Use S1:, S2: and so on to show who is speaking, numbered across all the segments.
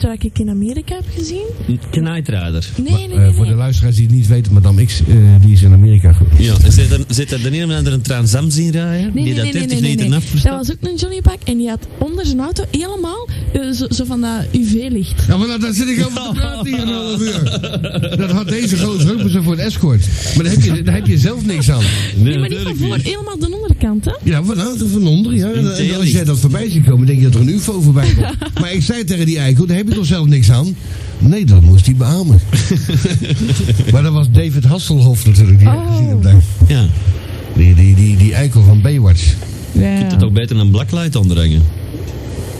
S1: dat ik in Amerika heb gezien.
S2: Knight Rider.
S1: Nee, nee, nee.
S3: Eh, voor de
S1: nee.
S3: luisteraars die het niet weten, Madame X eh, die is in Amerika geweest.
S2: Ja, zit er, zit er de een of andere een transam zien rijden?
S1: Nee,
S2: die
S1: nee, nee,
S2: dat
S1: nee,
S2: 30
S1: nee, nee,
S2: liter
S1: nee.
S2: afverstapt?
S1: Dat was ook een Johnny Pak en die had onder zijn auto helemaal eh, zo, zo van dat UV-licht.
S3: Ja, maar dat- daar zit ik over te praten hier een half uur. Dat had deze gozer ook maar zo voor een escort. Maar daar heb, je, daar heb je zelf niks aan.
S1: Nee, maar niet van voor, helemaal de onderkant, hè?
S3: Ja, van, nou, van onder. Ja. En
S2: theorie.
S3: als jij dat voorbij ziet komen, denk je dat er een ufo voorbij komt. Maar ik zei tegen die eikel, daar heb je toch zelf niks aan? Nee, dat moest hij beamen. maar dat was David Hasselhoff natuurlijk, die ik
S1: Oh.
S3: gezien heb daar.
S2: Ja,
S3: Die, die, die, die eikel van Baywatch.
S2: dat ook beter een blacklight onderhangen.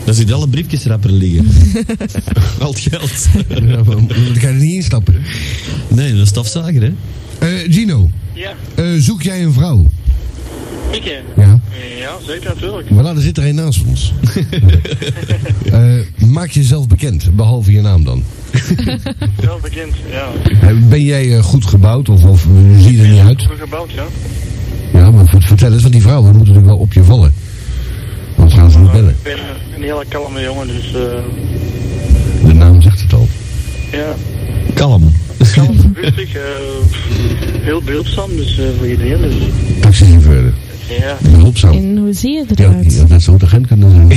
S2: Dan zit alle briefjes rapper liggen. Al het geld.
S3: Ja, maar Dan kan je er niet instappen.
S2: Nee, een stofzager, hè?
S3: Eh, Gino,
S4: Ja,
S3: eh, zoek jij een vrouw?
S4: ik hè?
S3: Ja.
S4: Ja, zeker natuurlijk.
S3: Voilà, er zit er een naast ons. Eh, maak jezelf bekend, behalve je naam dan.
S4: Wel bekend, ja.
S3: Eh, Ben jij eh, goed gebouwd of, of eh, zie je er niet uit?
S4: Goed gebouwd, ja.
S3: Ja, maar ver- vertel eens, want die vrouwen moeten natuurlijk wel op je vallen. Want gaan ze niet
S4: Maar
S3: bellen.
S4: ik ben eh, een hele kalme jongen, dus eh
S3: De naam zegt het al.
S4: ja.
S2: Kalm.
S4: Kalm, rustig, eh, heel behulpzaam, dus eh, voor iedereen. Dus,
S3: Taxichauffeur,
S4: ja.
S3: behulpzaam.
S1: En hoe zie je
S3: Ja,
S1: eruit?
S3: ja, dat zou de agent kunnen zijn.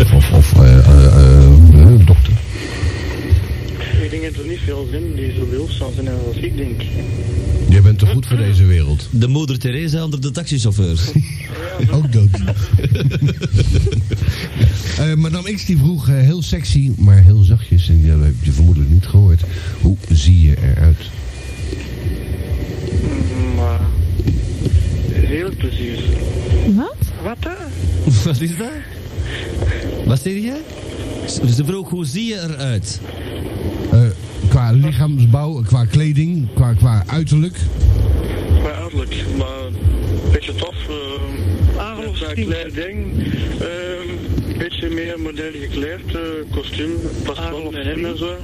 S3: of, of, of eh, eh, eh, eh, dokter.
S4: Ik denk dat er niet veel zijn die zo behulpzaam zijn als ik denk.
S3: Jij bent te goed voor deze wereld.
S2: De moeder Theresa onder de taxichauffeur.
S3: Ook dood. Eh, Madame X die vroeg eh, heel sexy, maar heel zachtjes. En ja, dat heb je vermoedelijk niet gehoord. Hoe zie je eruit?
S4: Mm, Maar heel precies.
S1: Wat?
S4: Wat eh? hè?
S2: Wat is dat? Wat zeg jij? Ze ze vroeg, hoe zie je eruit?
S3: Eh, qua lichaamsbouw, qua kleding, qua, qua uiterlijk.
S4: Mijn uiterlijk, maar een beetje tof. eh,
S5: Adolf
S4: een
S5: Steen.
S4: klein ding. eh, Een beetje meer modern gekleed, eh, kostuum, past wel
S5: Adolf
S4: bij hem en zo.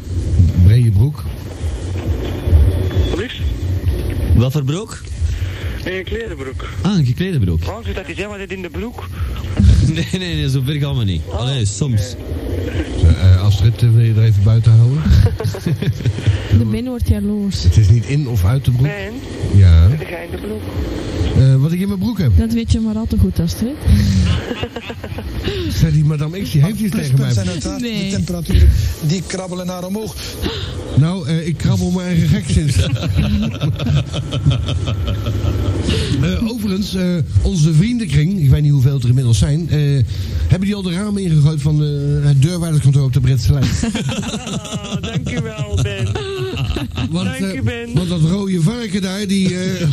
S3: Brede broek.
S4: Liefst
S2: Wat voor broek?
S4: in een klerenbroek.
S2: Ah, een geklede broek.
S5: Waarom zit dat die zomaar dit in de broek?
S2: Nee, nee, nee, zo ver gaan we niet. Allee, soms.
S3: Eh, eh, Astrid, eh, wil je er even buiten houden?
S1: De ben wordt jaloers.
S3: Het is niet in of uit de broek.
S5: Nee,
S3: Ja.
S5: zit jij in de broek?
S3: Eh, wat ik in mijn broek heb.
S1: Dat weet je maar al te goed, Astrid.
S3: Zei die madame X, die heeft iets tegen
S6: Pluspunt zijn
S3: mij.
S6: uiteraard
S1: Nee.
S6: de temperaturen. Die krabbelen naar omhoog.
S3: Nou, eh, ik krabbel mijn eigen gek sinds. Eh, overigens, eh, onze vriendenkring, ik weet niet hoeveel het er inmiddels zijn, eh, hebben die al de ramen ingegooid van eh, het deurwaarderskantoor op de Britse lijn.
S5: Oh, dankjewel Ben.
S3: Want,
S5: Dank
S3: eh,
S5: u, Ben.
S3: want dat rode varken daar, die, eh,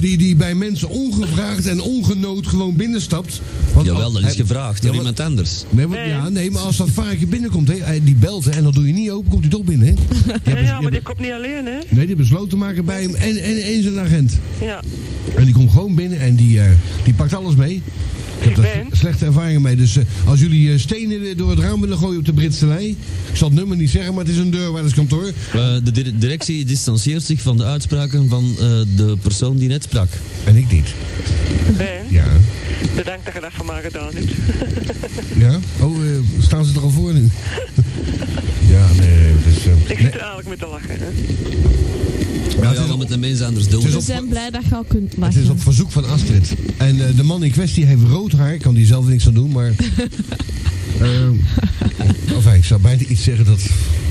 S3: die, die bij mensen ongevraagd en ongenood gewoon binnenstapt. Want
S2: Jawel,
S3: als-
S2: dat is
S3: hij-
S2: gevraagd door
S3: Ja,
S2: iemand anders.
S3: Nee, want- ja, nee, maar als dat varken binnenkomt, hè, hij- die belt hè, en dat doe je niet open, komt hij toch binnen. Hè? Die
S5: Ja,
S3: hebben-
S5: ja,
S3: die
S5: maar
S3: hebben-
S5: die komt niet alleen hè?
S3: Nee, die besloten te maken bij hem en, en, en zijn agent.
S5: Ja.
S3: En die komt gewoon binnen en die, eh, die pakt alles mee. Ik heb
S5: Ik
S3: daar
S5: ben.
S3: slechte ervaringen mee. Dus eh, als jullie eh, stenen door het raam willen gooien op de Britse lei. Ik zal het nummer niet zeggen, maar het is een deurwaarderskantoor.
S2: Eh, de dir- directie distantieert zich van de uitspraken van eh, de persoon die net sprak.
S3: En ik niet.
S5: Ben,
S3: Mhm. Ja.
S5: bedankt dat je dat voor mij gedaan hebt.
S3: Ja? Oh, eh, staan ze er al voor nu? ja, nee, het is... eh,
S5: Ik
S3: nee.
S5: zit er eigenlijk mee te lachen hè?
S2: Ja,
S3: het is
S2: ja,
S3: op-
S2: met een mens anders
S3: Het
S2: doen.
S3: is
S1: We
S3: op-
S1: zijn blij dat je al kunt
S3: Het is
S1: lachen.
S3: op verzoek van Astrid. En eh, de man in kwestie heeft rood haar. Kan die zelf niks aan doen, maar... Ehm of ik zou bijna iets zeggen dat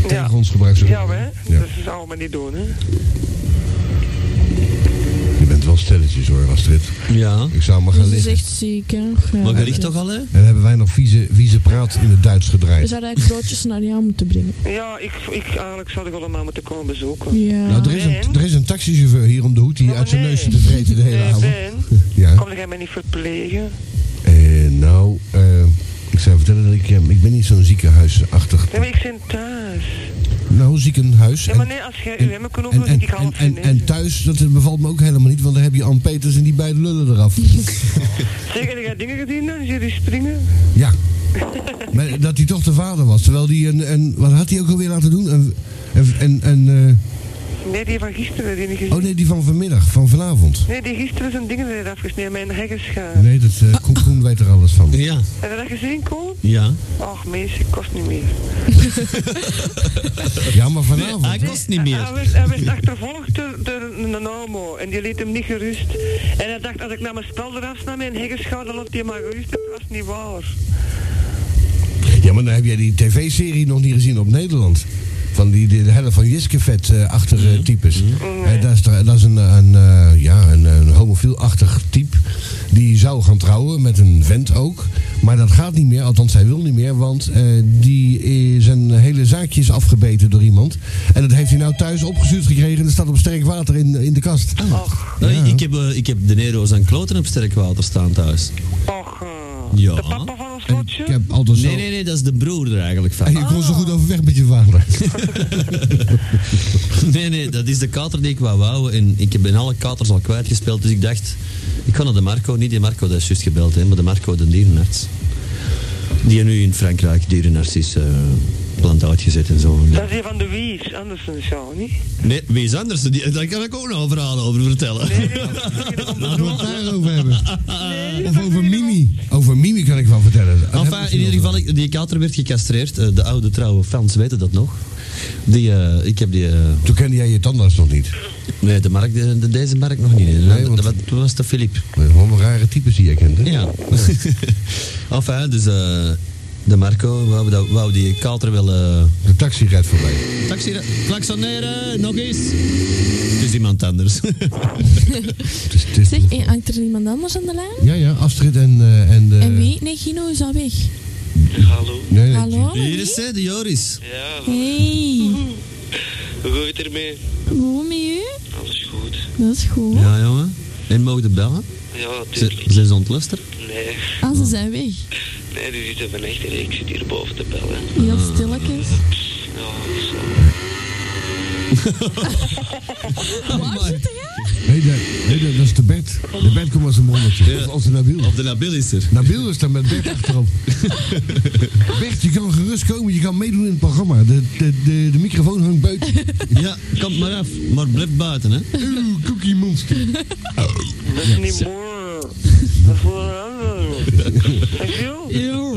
S3: tegen
S5: Ja.
S3: ons gebruikt zou
S5: Ja
S3: worden.
S5: hè?
S3: Ja.
S5: Dat zou maar niet doen hè?
S3: Je bent wel stelletjes hoor, Astrid.
S2: Ja.
S3: Ik zou maar gaan
S1: Dus Ze is
S3: liggen.
S1: echt ziek, hè. Ja.
S2: Maar gericht toch al, hè?
S3: En dan hebben wij nog vieze, vieze praat in het Duits
S1: We
S3: gedraaid.
S1: zouden eigenlijk broodjes naar jou moeten brengen.
S5: Ja, ik, ik eigenlijk zou ik allemaal moeten komen bezoeken.
S1: Ja.
S3: Nou, er is, een, er is een taxichauffeur hier om de hoed die
S5: Maar
S3: uit zijn
S5: nee.
S3: neus zit te vreten de hele
S5: Nee,
S3: avond.
S5: Eh, Ben,
S3: Ja.
S5: kom jij mij niet verplegen?
S3: Eh, nou, eh, ik zou vertellen dat ik... eh, ik ben niet zo'n ziekenhuisachtig...
S5: Nee, maar ik zit thuis.
S3: Nou, ziekenhuis.
S5: Ja,
S3: en-
S5: maar nee, als jij u hem kon
S3: En,
S5: opdoen,
S3: en,
S5: zit ik half
S3: en,
S5: in.
S3: en,
S5: hè.
S3: en thuis, dat bevalt me ook helemaal niet, want dan heb je Ann Peters en die beide lullen eraf.
S5: Zeg, en jij dingen gedaan dan? Zie je die springen?
S3: ja. Maar dat hij toch de vader was. Terwijl hij een, een. Wat had hij ook alweer laten doen? Een, een, een, een, eh,
S5: Nee, die van gisteren. Die niet gezien.
S3: Oh nee, die van vanmiddag, van vanavond.
S5: Nee, die gisteren zijn dingen weer afgesneden. Mijn hekkers gaan.
S3: Nee, dat eh Koen Koen weet er alles van.
S2: Ja,
S5: Heb je dat gezien, Kool?
S2: ja.
S5: Och, mensen, kost niet meer.
S3: Ja, maar
S2: Hij
S3: vanavond.
S2: kost niet
S5: Hij
S2: meer.
S5: werd, hij werd achtervolgd door, door een homo en die liet hem niet gerust. En hij dacht, als ik naar mijn spel eraf snap en hekkers ga, dan loopt hij maar gerust. Dat was niet waar.
S3: Ja, maar dan heb jij die tv-serie nog niet gezien op Nederland. Van die, die de helft van Jiskevet eh achter
S2: Mhm.
S3: eh, types. Eh, dat, is, toch- dat is een, een, eh, ja, een, een homofiel-achtig type. Die zou gaan trouwen met een vent ook. Maar dat gaat niet meer, althans hij wil niet meer. Want eh, die is een hele zaakje is afgebeten door iemand. En dat heeft hij nou thuis opgestuurd gekregen. En dat staat op sterk water in, in de kast.
S5: Och,
S2: Nee, ik, heb, eh, ik heb de Nero's aan kloten op sterk water staan thuis.
S5: och. eh,
S2: Ja.
S5: De papa van ons
S3: En ik
S5: lotje.
S3: heb altijd zo...
S2: Nee, Oh. nee, nee, dat is de broer er eigenlijk
S3: En
S2: van.
S3: je kon zo goed overweg met je vader.
S2: Nee, nee, dat is de kater die ik wou wouden. En ik ben alle katers al kwijtgespeeld. Dus ik dacht, ik ga naar de Marco. Niet die Marco, dat is juist gebeld, hè, maar de Marco, de dierenarts. Die nu in Frankrijk dierenarts is eh, plant uitgezet en zo.
S5: Dat is die van de Wies, Andersen zo, niet?
S2: Nee, wie is anders? Die, daar kan ik ook nog een verhaal over vertellen.
S5: Nee, nee, dat is die van de
S3: Laten we
S5: Doel.
S3: het daarover hebben. Of over Mimi. Over Mimi kan ik wel vertellen. Dat heb ik
S2: Enfin, eh, in
S3: misschien
S2: ieder
S3: wel
S2: geval, ik- die kater werd gecastreerd. Eh, de oude trouwe fans weten dat nog. Die, eh, ik heb die... eh,
S3: gedaan. Toen kende jij je tandarts nog niet.
S2: nee, de mark, de, de- deze mark nog niet. hè.
S3: Nee, want-
S2: dat, dat was de Philippe.
S3: Gewoon rare types die jij kent, hè?
S2: Ja. enfin, dus eh, de Marco wou, dat- wou die kater wel... eh
S3: De taxi rijdt voorbij.
S2: taxi, eh, klaksoneren, nog eens. Oh, Het is iemand anders.
S3: Het is- Dus het is-
S1: Zeg, eh, hangt er iemand anders aan de lijn?
S3: Ja, ja, Astrid en... eh, en, eh,
S1: En wie? Nee, Gino is al weg.
S4: Hallo.
S3: Nee, nee,
S1: Hallo?
S2: Hier is hij, de Joris.
S4: Ja,
S1: Hey,
S4: hoe gaat het ermee?
S1: hoe met u?
S4: Alles goed.
S1: Dat is goed.
S2: Ja, jongen. En mogen de bellen?
S4: Ja,
S2: Ze,
S4: tuurlijk.
S2: ze is ontluster.
S4: Nee,
S1: Ah, ze zijn weg.
S4: nee, die zitten van echt ik zit hier boven te bellen.
S1: Heel stilletjes.
S4: Ja, zo.
S2: Ah.
S3: Nee, dat, nee, dat, dat is de Bert. De Bert komt als een monnetje. Of als de Nabil.
S2: Of de Nabil is er.
S3: Nabil is daar met Bert achterop. Bert, je kan gerust komen. Je kan meedoen in het programma. De, de, de, de microfoon hangt buiten.
S2: Ja, komt maar af. Maar blijf buiten, hè.
S3: Oeh, cookie monster.
S5: Dat is niet mooi. Dat is voor een ander. Dank je.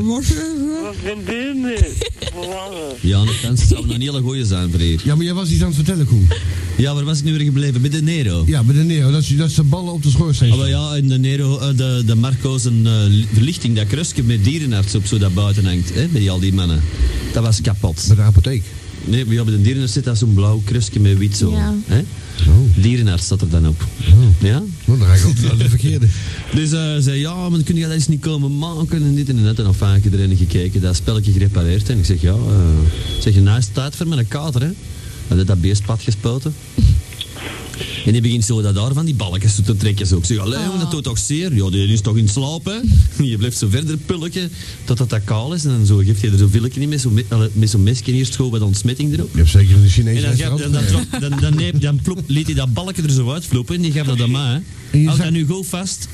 S5: Wat ben dit niet? Verlangen.
S2: Ja, dat kan- zou een hele goeie zijn voor hier.
S3: Ja, maar jij was iets aan het vertellen, Koen.
S2: Ja, waar was ik nu weer gebleven? Bij de Nero.
S3: Ja, bij de Neo. Dat is, dat is de ballen op de schoorsteen.
S2: Ah, wel ja, en de, Nero, eh, de, de Marco's een eh, li- verlichting, dat krusje met dierenarts op zo dat buiten hangt, hè, bij al die mannen. Dat was kapot.
S3: Bij de apotheek.
S2: Nee, ja, bij de dierenarts zit dat zo'n blauw krusje met wit zo.
S1: Ja.
S2: Hè?
S3: Oh.
S2: Dierenarts zat er dan op. Ja?
S3: Nou, dan ga ik altijd naar de verkeerde.
S2: Dus eh zei, ja, maar kun je dat eens niet komen maken en dit en dat. En dan vaak erin gekeken, dat spelletje gerepareerd. En ik zeg, ja, eh, zeg je, nou is het tijd voor mijn kater, hè. Hij had dat beestpad gespoten. En die begint zo dat daar van die balkjes te trekken. Zo. Ik zeg, allee, jongen, dat doet toch zeer? Ja, die is toch in slaap, hè? Je blijft zo verder pulken totdat dat kaal is. En dan zo geeft hij er zo'n villetje in met zo'n, me- allee, met zo'n mesje eerst gewoon wat ontsmetting erop.
S3: Je hebt zeker in een Chinees
S2: En dan, gaf,
S3: restaurant
S2: dan, dan,
S3: gewerkt.
S2: trok- dan, dan, neep- dan ploep, liet hij dat balkje er zo uitvloepen en die gaf dat aan mij.
S3: En je
S2: hè. Houd
S3: zag-
S2: dat nu goed vast.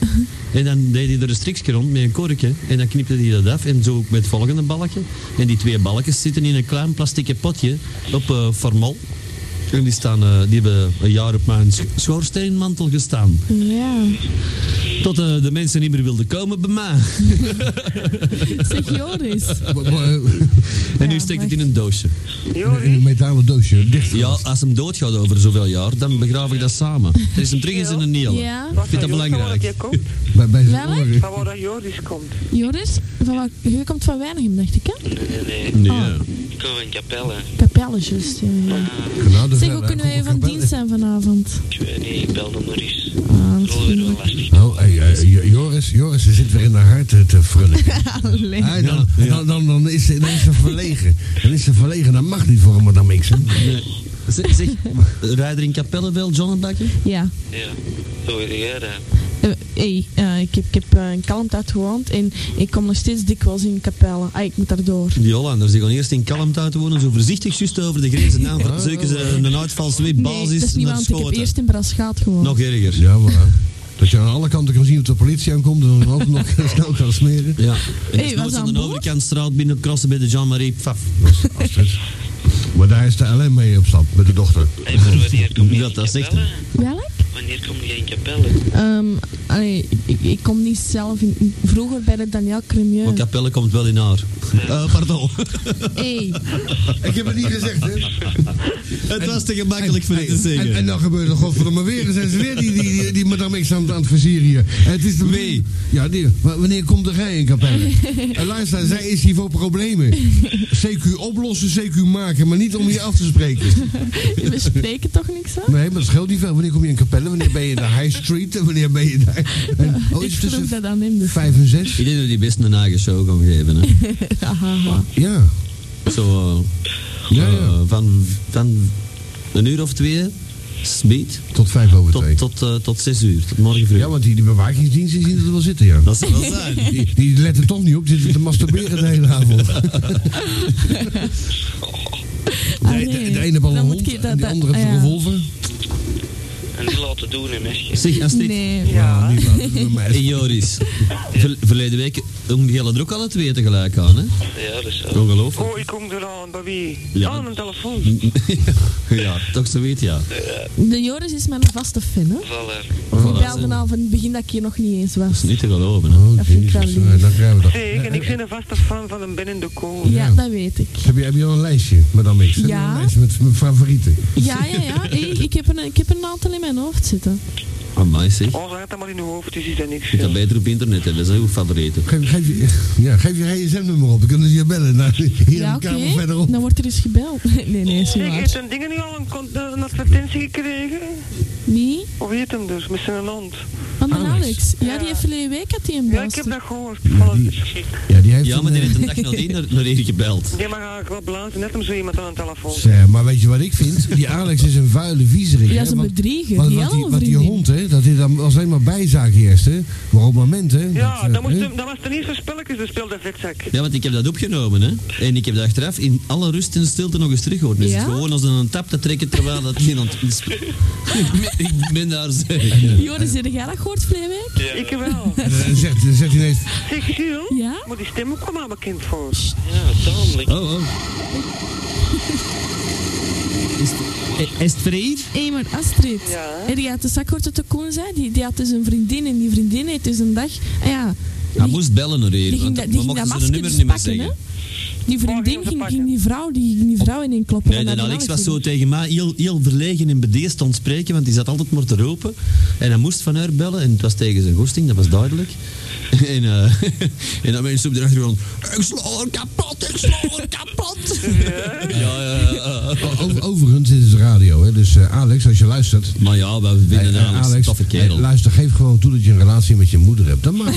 S2: En dan deed hij er een strikje rond met een korkje. En dan knipte hij dat af en zo ook met het volgende balkje. En die twee balkjes zitten in een klein plastieke potje op eh formol. En die, staan, eh, die hebben een jaar op mijn sch- schoorsteenmantel gestaan.
S1: Ja.
S2: Tot eh, de mensen niet meer wilden komen bij mij.
S1: Zeg Joris.
S3: Bo- bo- eh,
S2: En nu
S1: Ja,
S2: steekt het
S1: wacht.
S2: in een doosje.
S3: In een
S5: Joris,
S3: metalen doosje, dicht.
S2: Ja, als hem doodgaat over zoveel jaar, dan begraaf ik dat samen. Er is hem terug eens in een niel.
S1: Ja.
S2: Ik vind dat belangrijk.
S5: je komt?
S3: Bij, bij zijn
S1: Welk?
S3: oren.
S5: Van waar dat Joris komt.
S1: Joris, van wat, je komt van Weinigem, dacht ik, hè?
S4: Nee, nee,
S2: Nee.
S1: Ah.
S4: ik kom van Capelle.
S1: Kapelletjes, ja. ja.
S3: Nou, de
S1: Zeg,
S3: verder-
S1: hoe kunnen wij van dienst zijn vanavond?
S4: Ik weet niet, ik belde nog eens.
S1: Ah, dat
S4: Het
S1: is
S4: is wel weer wel
S1: goed.
S4: lastig.
S3: Nou, hey, eh, Jo- Joris, Joris ze zit weer in haar hart te, te frullen.
S1: Allee.
S3: Hey, dan, dan, dan, dan is ze, dan is ze verlegen. Dan is ze verlegen, dat mag niet voor een madame X. hè.
S2: Nee. Zeg, zeg rijder in Capelle wel, John Bakker?
S1: Ja.
S4: Ja, hoe wil jij dat?
S1: Eh, hey, eh, ik heb, ik heb eh, in Kalmthout gewoond en ik kom nog steeds dikwijls in Kapellen. Ah, ik moet daardoor.
S2: Die Hollanders, die gaan eerst in kalmte uit wonen, zo voorzichtig, juist over de grenzen aan. Zeker Zeker ze een uitvalsweep
S1: Nee, dat
S2: basis
S1: is niet
S2: naar
S1: want ik heb
S2: Schoten.
S1: eerst in Brasgaat gewoond.
S2: Nog erger. Ja.
S3: Ja, maar. Dat je aan alle kanten kan zien of de politie aankomt en dan ook nog snel kan smeren.
S2: En
S1: Hey,
S2: hey,
S1: was dat
S2: aan
S1: aan
S2: de
S1: boord?
S2: overkantstraat binnen crossen bij de Jean-Marie Pfaff.
S3: Astrid. Maar daar is de alleen mee op stap, met de dochter.
S7: Hey broer, wanneer kom je
S2: Dat- dat
S7: in
S2: zegt hij.
S7: Capelle?
S1: Welk?
S7: Wanneer kom je in Capelle?
S1: Ehm, allee, ik- ik, ik kom niet zelf in. Vroeger bij de Daniel
S2: Want
S1: Cremieux.
S2: Capelle komt wel in haar. Eh, pardon.
S1: Hey,
S3: Ik heb het niet gezegd, hè?
S2: het was te gemakkelijk voor je te
S3: En, en,
S2: zeggen.
S3: dan gebeurt er godverdomme weer. Dan zijn ze weer die, die, die, die madame X aan, het- aan het versieren hier. En het is de
S2: Wie?
S3: Ja, die, wa- wanneer komt er rij in Capelle? en luister, zij is hier voor problemen. CQ oplossen, CQ maken, maar niet om hier af te spreken.
S1: we spreken toch niks aan?
S3: Nee, maar dat scheelt niet veel. Wanneer kom je in Capelle? Wanneer ben je in de High Street? En wanneer ben je daar? En, oh,
S1: ik
S3: is het
S1: vroeg
S3: tussen
S1: dat aan hem dus.
S3: vijf en zes?
S2: Ik denk dat hij best een eigen show kan geven. Hè.
S1: Haha.
S3: Ja.
S2: Zo, eh,
S3: Ja, ja.
S2: eh, van, van een uur of twee, speed,
S3: Tot vijf over twee.
S2: tot, tot, eh, tot zes uur, tot morgen vroeg.
S3: Ja, want die, die bewakingsdiensten zien het wel zitten, ja.
S2: Dat zal wel zijn.
S3: Die, die letten toch niet op, die zitten te masturberen de hele avond.
S1: Allee,
S3: de, de ene bal een
S1: dan moet
S3: hond,
S1: ik- dat-
S3: en de
S1: dat-
S3: andere heeft een
S1: ja.
S3: revolver. Nou,
S7: En die laten doen hè, mesje.
S2: Zeg, Astrid.
S1: Nee.
S3: Ja, niet waar, dat is bij mij.
S2: En Joris, ver- verleden week hong jullie er ook alle twee tegelijk aan, hè?
S7: Ja, dat is wel.
S2: Ongelooflijk.
S5: Oh, ik kom eraan, bij wie?
S2: Ja.
S5: Aan een telefoon.
S2: ja, toch zoiets, ja.
S1: De Joris is mijn vaste fan, hè?
S7: Voilà.
S1: Ik
S2: Voilà,
S1: belde
S2: zeg.
S1: al van het begin dat ik hier nog niet eens
S2: Dat is
S1: was.
S2: niet te geloven, hè.
S3: Oh,
S1: Dat vind ik wel
S3: jezus,
S1: lief.
S3: nou, dan krijgen we dat.
S5: Zeker, en ik ben een vaste fan van een Ben in de Kool.
S1: Ja,
S3: Ja.
S1: dat weet ik.
S3: eh, Heb je, heb je al een lijstje, madame X? Heb je al
S1: Ja.
S3: Een lijstje met mijn favorieten.
S1: Ja, ja, ja. Hey, ik, heb een, ik heb een aantal in mijn hoofd zitten.
S2: Amai, zeg.
S5: Oh, laat dat maar in uw hoofd, dus is dat niks.
S2: Je kan beter op internet hebben, dat is jouw favorieten.
S3: Geef, geef, je, ja, geef je gsm-nummer op, dan kunnen ze je bellen. Naar, hier
S1: ja,
S3: in de
S1: oké.
S3: kamer verderop.
S1: Dan wordt er eens gebeld. Nee, nee, is niet
S5: Zeg, heeft
S1: waar.
S5: een ding nu al een, con- een advertentie gekregen?
S1: Wie?
S5: Hoe heet hem dus? Met zijn land.
S1: Van de
S3: Alex.
S1: Alex. Ja, die heeft verleden week had hij een
S5: Ja,
S1: bel.
S5: ik heb dat gehoord. Voilà.
S3: Ja, die heeft
S2: Ja,
S3: een,
S2: maar die
S3: eh,
S2: heeft een dag nadien naar, naar hier gebeld.
S5: Die mag eigenlijk wel blazen, net om zo iemand aan een telefoon.
S3: Zeg, maar weet je wat ik vind? Die Alex is een vuile viezerik.
S1: Ja,
S3: hè,
S1: is een
S3: want-
S1: bedrieger.
S3: Want
S1: die
S3: wat die,
S1: hele
S3: wat die
S1: vriendin.
S3: hond, hè, dat is dan was alleen maar bijzaak eerst, hè. Maar op het moment, hè.
S5: Ja,
S3: eh,
S5: dat, moest
S3: hè,
S5: hem- dat was ten eerste spelletjes, de speelde vetzak.
S2: Ja, want ik heb dat opgenomen, hè. En ik heb dat achteraf in alle rust en stilte nog eens teruggehoord. Dus
S1: Ja?
S2: het is gewoon als een tap te trekken terwijl dat geen ont... ik ben daar zeker.
S1: Joris, heb jij dat gehoord verleden week?
S5: Ik wel.
S3: eh, dan zegt, dan zegt hij ineens,
S5: Zeg, Giel,
S1: Ja?
S5: maar die stem ook kwam aan bekend voor.
S7: Ja, tamelijk.
S2: Oh, oh. Is het, eh, is het voor hier?
S1: Hé, maar Astrid.
S5: Ja?
S1: En die had de zak gehoord dat de koen zei. Die, die had dus een vriendin. En die vriendin heeft dus een dag... ah ja,
S2: Hij moest bellen naar
S1: die
S2: hier,
S1: ging,
S2: want
S1: dat-
S2: we
S1: die ging dat
S2: mochten zijn
S1: masker
S2: nummer
S1: dus
S2: niet meer
S1: pakken,
S2: zeggen.
S1: hè? Die vriendin
S5: Morgen
S1: ging,
S5: pakken.
S1: ging die vrouw, die ging die vrouw in kloppen.
S2: Nee,
S1: van
S2: en
S1: dat
S2: Alex
S1: Alex
S2: was zo tegen mij heel, heel verlegen en bedeesd aan het spreken, want die zat altijd maar te ropen. En hij moest van haar bellen en het was tegen zijn goesting, dat was duidelijk. En, eh en dan mensen op de achtergrond, ik sla haar kapot, ik sla haar kapot. Ja, ja, ja.
S3: over- overigens, dit is radio, hè. Dus eh, Alex, als je luistert...
S2: Maar ja, we vinden
S3: eh,
S2: Alex een toffe kerel. Oh.
S3: eh, luister, geef gewoon toe dat je een relatie met je moeder hebt. Dat mag.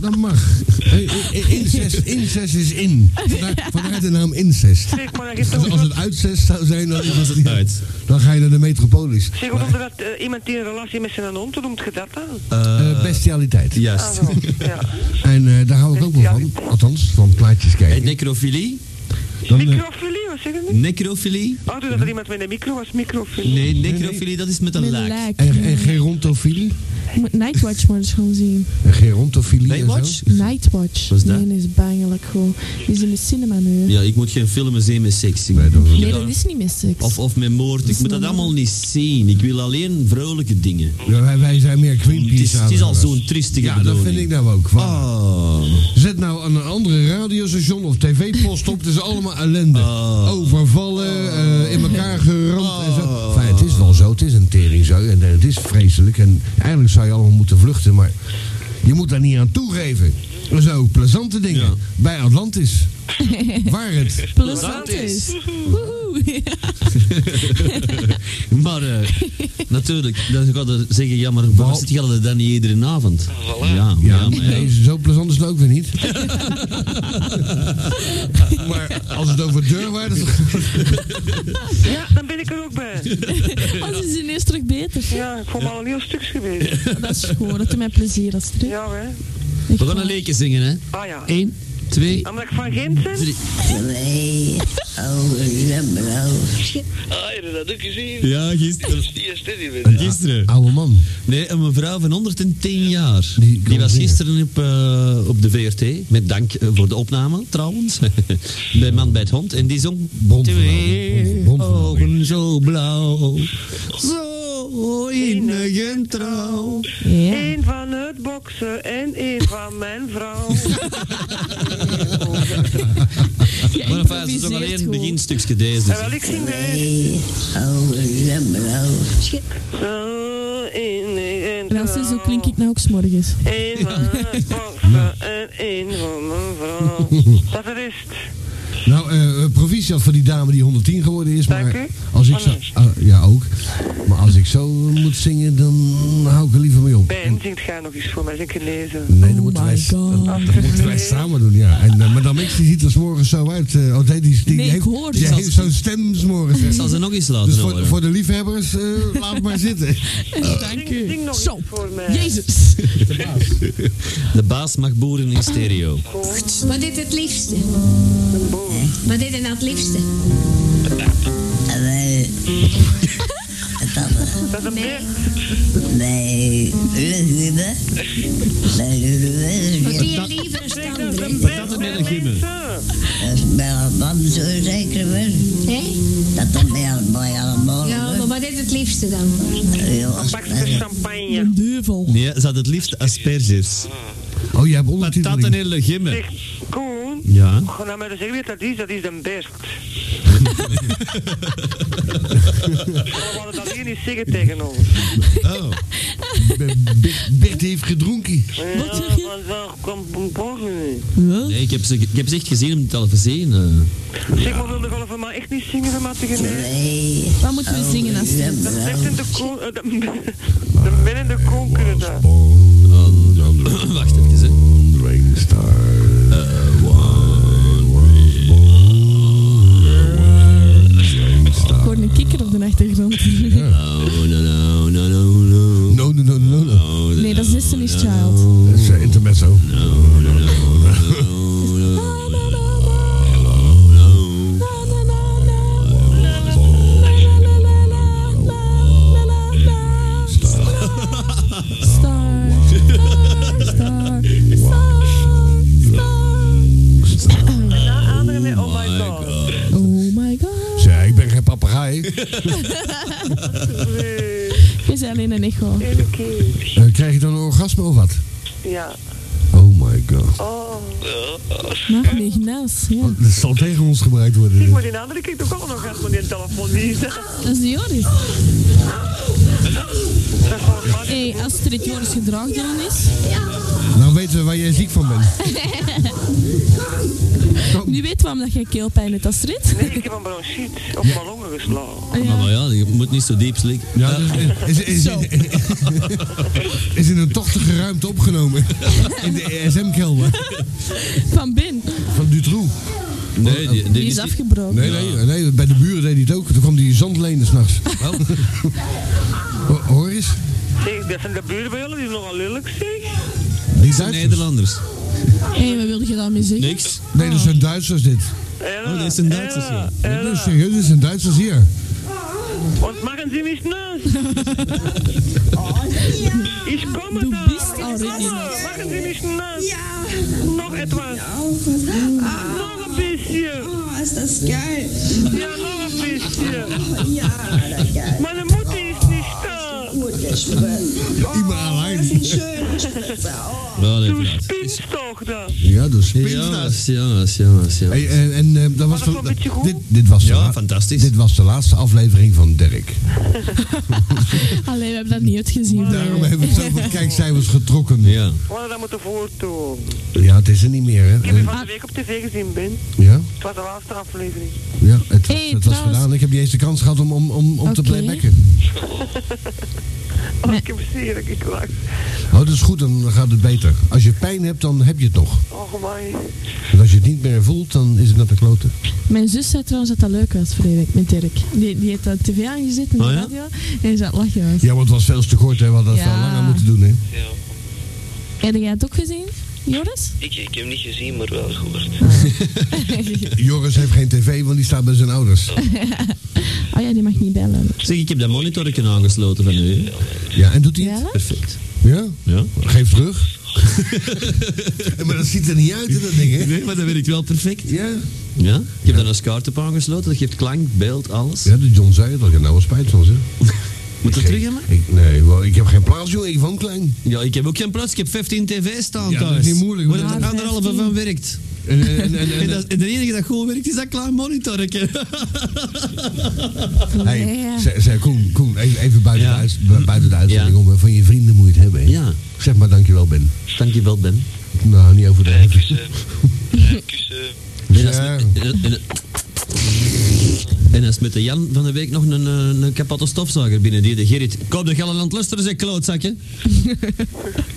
S3: Dat mag. Eh, eh, Incest, incest is in. Vandaar, vandaar de naam incest.
S5: Zeg, maar dan geeft
S3: Als,
S5: ook
S3: als het
S5: dat...
S3: uitzest zou zijn, dan, is het,
S2: Uit.
S3: dan ga je naar de metropolis.
S5: Zeg, hoe noemde dat eh, iemand die een relatie met zijn hond, hoe noemt je dat dan?
S3: Eh, bestialiteit.
S2: Juist.
S5: Ah, zo. Ja.
S3: En eh, daar hou ik ook wel van. Althans, van plaatjes
S2: En
S3: kijken.
S2: necrofilie?
S3: Dan, eh,
S5: Microfilie, wat zeggen die?
S2: Necrofilie?
S5: Oh, dus dat er iemand met een micro was, microfilie.
S2: Nee, necrofilie, dat is met een
S1: Met
S2: laag.
S1: een lijk.
S3: en, en gerontofilie?
S1: Ik moet Nightwatch maar eens gaan zien.
S3: En gerontofilie en
S2: Baywatch?
S3: zo?
S1: Nightwatch.
S2: Wat is dat?
S1: Nee, dat is bangelijk gewoon. Die is in de cinema nu.
S2: Ja, ik moet geen filmen zien met seks. Ik-
S3: Nee, dat-
S2: ik-
S1: Nee, dat is niet meer seks.
S2: Of, of met moord. Ik moet dat allemaal niet zien. Ik wil alleen vrolijke dingen.
S3: Ja, wij, wij zijn meer
S2: Het
S3: Greenpeace
S2: is, het is al
S3: aanhangers.
S2: zo'n triestige
S3: Ja, dat
S2: bedoeling.
S3: vind ik nou ook. Waar?
S2: Oh.
S3: Zet nou aan een andere radiostation of tv-post op. Het is allemaal ellende.
S2: Oh.
S3: Overvallen, eh, in elkaar geramd en zo.
S2: Oh.
S3: Enfin, het is wel zo. Het is een teringzooi. En eh, het is vreselijk. En eigenlijk zou je allemaal moeten vluchten. Maar je moet daar niet aan toegeven. Er zijn ook plezante dingen.
S2: Ja.
S3: Bij Atlantis. Waar het...
S1: Plus
S2: dat
S1: dat
S2: is.
S1: is. Woehoe.
S2: Maar eh, natuurlijk, dan gaat er zeggen, ja, maar
S3: Wel-
S2: waarom zit je al dan niet iedere avond?
S7: Voilà.
S2: Ja,
S3: Ja,
S2: ja, maar ja.
S3: nee, zo plezant is het ook weer niet. maar als het over deurwaarders
S5: Ja, dan ben ik er ook bij.
S1: Als is ineens terug beter.
S5: Ja, ik vond me al een heel stuk geweest.
S1: Dat is gewoon, dat doet mij plezier, Astrid.
S5: Ja, hè.
S1: Echt
S2: We gaan
S1: waar.
S2: een leekje zingen, hè.
S5: Ah ja.
S2: Eén, twee,
S5: Anneke van Ginsen?
S2: drie.
S7: Ah, je hebt dat ook gezien.
S2: Ja,
S7: Dat
S2: gisteren.
S7: is die steady weer.
S2: Gisteren.
S3: Oude man.
S2: Nee, een mevrouw van 110 jaar.
S3: Die
S2: Die,
S3: kan
S2: was
S3: zingen.
S2: gisteren op, eh, op de VRT. Met dank eh, voor de opname, trouwens. bij Man bij het Hond. En die zong...
S3: Bondverhaal.
S2: Twee
S3: Bondverhaal.
S2: ogen zo blauw. Zo innig en trouw.
S1: Ja.
S5: Eén van het boksen en één van mijn vrouw.
S1: Ja,
S2: Maar enfin, ze zong alleen
S1: improviseert
S2: een
S1: gewoon.
S2: beginstukje deze.
S5: En wel, ik zing deze. Zo innig en
S1: En als ze zo
S5: trouw.
S1: klink ik nou ook s'morgens.
S5: Eén van het boksen en één van mijn vrouw. Dat er is het.
S3: Nou, eh proficiat voor die dame die 110 geworden is.
S5: Dank
S3: Maar
S5: u.
S3: als ik
S5: Oh,
S3: zo,
S5: nee.
S3: ah, ja, ook. Maar als ik zo moet zingen, dan hou ik er liever mee op.
S5: Ben, zingt ga nog eens voor mij, zing ik lezen.
S3: Nee, dan
S1: Oh
S3: moeten
S1: my
S3: wij,
S1: God.
S3: dan, dan moeten wij samen doen, ja. En eh, Madame X die ziet er 's morgens zo uit. eh, oh, nee, die, die
S1: Nee, ik
S3: heeft,
S1: hoor
S3: die
S1: het.
S3: heeft zo'n stem 's morgens.
S2: Ik
S3: hè.
S2: zal ze nog eens laten
S3: Dus voor,
S2: horen.
S3: voor de liefhebbers, eh, laat maar zitten.
S1: Dank
S5: Zing, zing
S1: u.
S5: nog
S1: Zo.
S5: iets voor mij.
S1: Jezus.
S2: De baas mag boeren in stereo.
S8: Wat dit het liefste? Wat dit nou het liefste?
S5: Dat is een beer.
S8: Wat doe je liever een stander?
S5: Dat is
S2: met een gimmel.
S8: Hè? Ja, maar wat dit het liefste dan?
S5: Pak ze champagne.
S1: Duivel.
S2: Nee, ze had het liefst asperges.
S3: Oh, jij
S2: Dat
S3: hebt
S2: een
S3: ondertiteling.
S2: hele gimme.
S5: Zegt Koen.
S2: Ja.
S5: Gewoon naar mij te zeggen wie dat is, dat is de best. We hadden dat hier niet zeggen tegen ons.
S2: Oh.
S3: Bert heeft gedronken.
S5: Ja,
S1: zeg je?
S5: want zo komt een borgen niet.
S1: Huh?
S2: Nee, ik heb ze, ik heb ze echt gezien om het al te zien. eh.
S5: Zeg maar, wilde golven maar echt niet zingen van mij tegen mij.
S1: Wat moeten we zingen als
S5: Dat zegt in de koen, eh, de de men en de koen kunnen dat.
S2: Wacht even, hè.
S3: Wandering star.
S1: Ik hoor een kikker op de achtergrond.
S2: Oh, no, no, no, no, no.
S3: No, no, no, no, no.
S1: Nee, dat is Destiny's Child.
S3: Dat is eh, intermezzo.
S1: Star, star, star, star.
S5: Ja, andere nee, oh my god.
S1: Oh my god.
S3: Zeg, Dus, ik ben geen papegaai.
S5: Nee,
S1: Je is alleen een echo.
S5: één Eh, keer.
S3: Eh, krijg je dan een orgasme of wat?
S5: Ja.
S3: Oh my god.
S5: Oh,
S1: Maar nee, naast. Ja.
S3: Dat zal tegen ons gebruikt
S5: zeg
S3: worden.
S5: maar, die andere kijkt ook al nog uit, maar die telefoon niet. Dat
S1: Dat is de Joris.
S5: is volgens mij
S1: Hé, hey, als er het Joris gedrag dan is.
S3: Nou weten we waar jij ziek van bent.
S1: Nu weet waarom dat jij keelpijn hebt, Astrid.
S5: Nee, ik heb een bronchiet op mijn longen geslagen.
S1: Ah,
S2: Maar,
S1: Ja.
S2: maar ja, je moet niet zo diep slikken.
S3: Ja, dus, eh, is, is,
S1: Zo.
S3: is in een tochtige ruimte opgenomen. In de E ESM-kelder
S1: Van Ben.
S3: van Dutroux.
S2: Nee, die, Oh, die
S1: Die is
S2: is niet-
S1: afgebroken.
S3: Nee, nee, nee, bij de buren deed hij het ook. Toen kwam die zandlenen s'nachts. Ho- Hoor eens.
S5: Zeg, dat zijn de buren bij jullie, die is nogal lelijk, zeg.
S3: Die Duitsers.
S2: Nederlanders.
S1: Hé, wat wilde je daarmee zeggen?
S2: Niks.
S3: Nee, dat zijn Duitsers dit.
S5: Ella,
S2: Oh, dat is een Duitser,
S5: Ella,
S4: Eh.
S5: Ella.
S3: Nee, serieus, dit zijn Duitsers hier.
S5: Und machen Sie mich nass!
S2: Oh,
S5: Ich komme
S1: Du
S5: da!
S1: bist
S5: ich
S1: auch richtig
S5: komme. Machen Sie mich nass! Noch etwas! Noch ein bisschen! Ja, noch ein bisschen! Meine Mutter ist nicht da!
S3: Immer alleen.
S2: Ja, nee,
S5: Du
S2: inderdaad.
S5: spinnst doch da!
S3: Ja, dus pinda's.
S2: Jongens, jongens, jongens, jongens.
S3: Hey, en en eh, dat was
S5: dat wel
S3: de-
S5: een beetje goed?
S3: dit, dit was de
S2: Ja,
S3: la-
S2: fantastisch.
S3: Dit was de laatste aflevering van Dirk.
S1: Allee, we hebben dat niet uitgezien.
S3: Daarom hebben we zoveel kijkcijfers getrokken.
S2: Ja.
S5: Wat dat moet ervoor toe.
S3: Ja, het is er niet meer,
S5: Ik heb
S3: hè?
S5: je
S3: Eh,
S5: van de week op tv gezien, Ben.
S3: Ja,
S5: Het was de laatste aflevering.
S3: ja het, was,
S1: Hey,
S3: het was
S1: trouwens-
S3: gedaan. Ik heb niet eens de kans gehad om, om, om, om te
S1: Oké.
S3: playbacken.
S5: Oh, ik heb zeer, ik lach.
S3: Oh, dat is goed, dan gaat het beter. Als je pijn hebt, dan heb je het nog.
S5: Oh, my.
S3: En als je het niet meer voelt, dan is het naar de kloten.
S1: Mijn zus zei trouwens dat dat leuk was vorige week met Dirk. Die, die heeft dat tv aangezet in de
S2: Oh ja?
S1: radio en die zat lachen. Was.
S3: Ja, want het was veel te kort, hè? We hadden dat
S1: Ja.
S3: veel langer moeten doen, hè?
S7: Ja.
S1: Heb jij het ook gezien? Joris?
S7: Ik, ik heb hem niet gezien, maar wel gehoord.
S3: Joris heeft geen tv, want die staat bij zijn ouders.
S1: Oh ja, die mag niet bellen.
S2: Zeg, ik heb dat monitorje aangesloten van u. hè.
S3: Ja, en doet hij het?
S1: Bellen?
S2: Perfect.
S3: Ja?
S2: Ja?
S3: Geef terug. maar dat ziet er niet uit, hè, dat ding, hè?
S2: Nee, maar dat werkt wel perfect.
S3: Ja.
S2: Ja? Ik heb daar een SCART op aangesloten, dat geeft klank, beeld, alles.
S3: Ja, de John zei het al. Ik heb nou wel spijt van, zeg.
S2: Moet dat
S3: Ik-
S2: terug hebben?
S3: ik- Nee, wel, ik heb geen plaats, jongen. Ik woon klein.
S2: Ja, ik heb ook geen plaats, ik heb 15 tv staan
S3: Ja, dat
S2: thuis.
S3: is niet moeilijk,
S2: Waar
S3: hoor.
S2: er
S1: Ja,
S2: anderhalve
S1: 15.
S2: van werkt.
S3: En, en, en, en-
S2: En, dat, en de enige dat goed werkt is dat klein monitorje.
S3: Hey, zeg, zeg, Koen, Koen, even, even buiten,
S2: Ja.
S3: de uit- bu- buiten de uitzending
S2: Ja.
S3: om. hè. Van je vrienden moet je het hebben. hè.
S2: Ja.
S3: Zeg maar dankjewel, Ben.
S2: Dankjewel, Ben.
S3: Nou, niet over de
S7: Eh, kussen. Eh, kussen.
S2: En als,
S3: Ja.
S2: en, en- eh, en als met de Jan van de week nog een, eh, een kapotte stofzuiger binnen die de Gerrit. Koop de Gelderland luisteren, zeg klootzakje.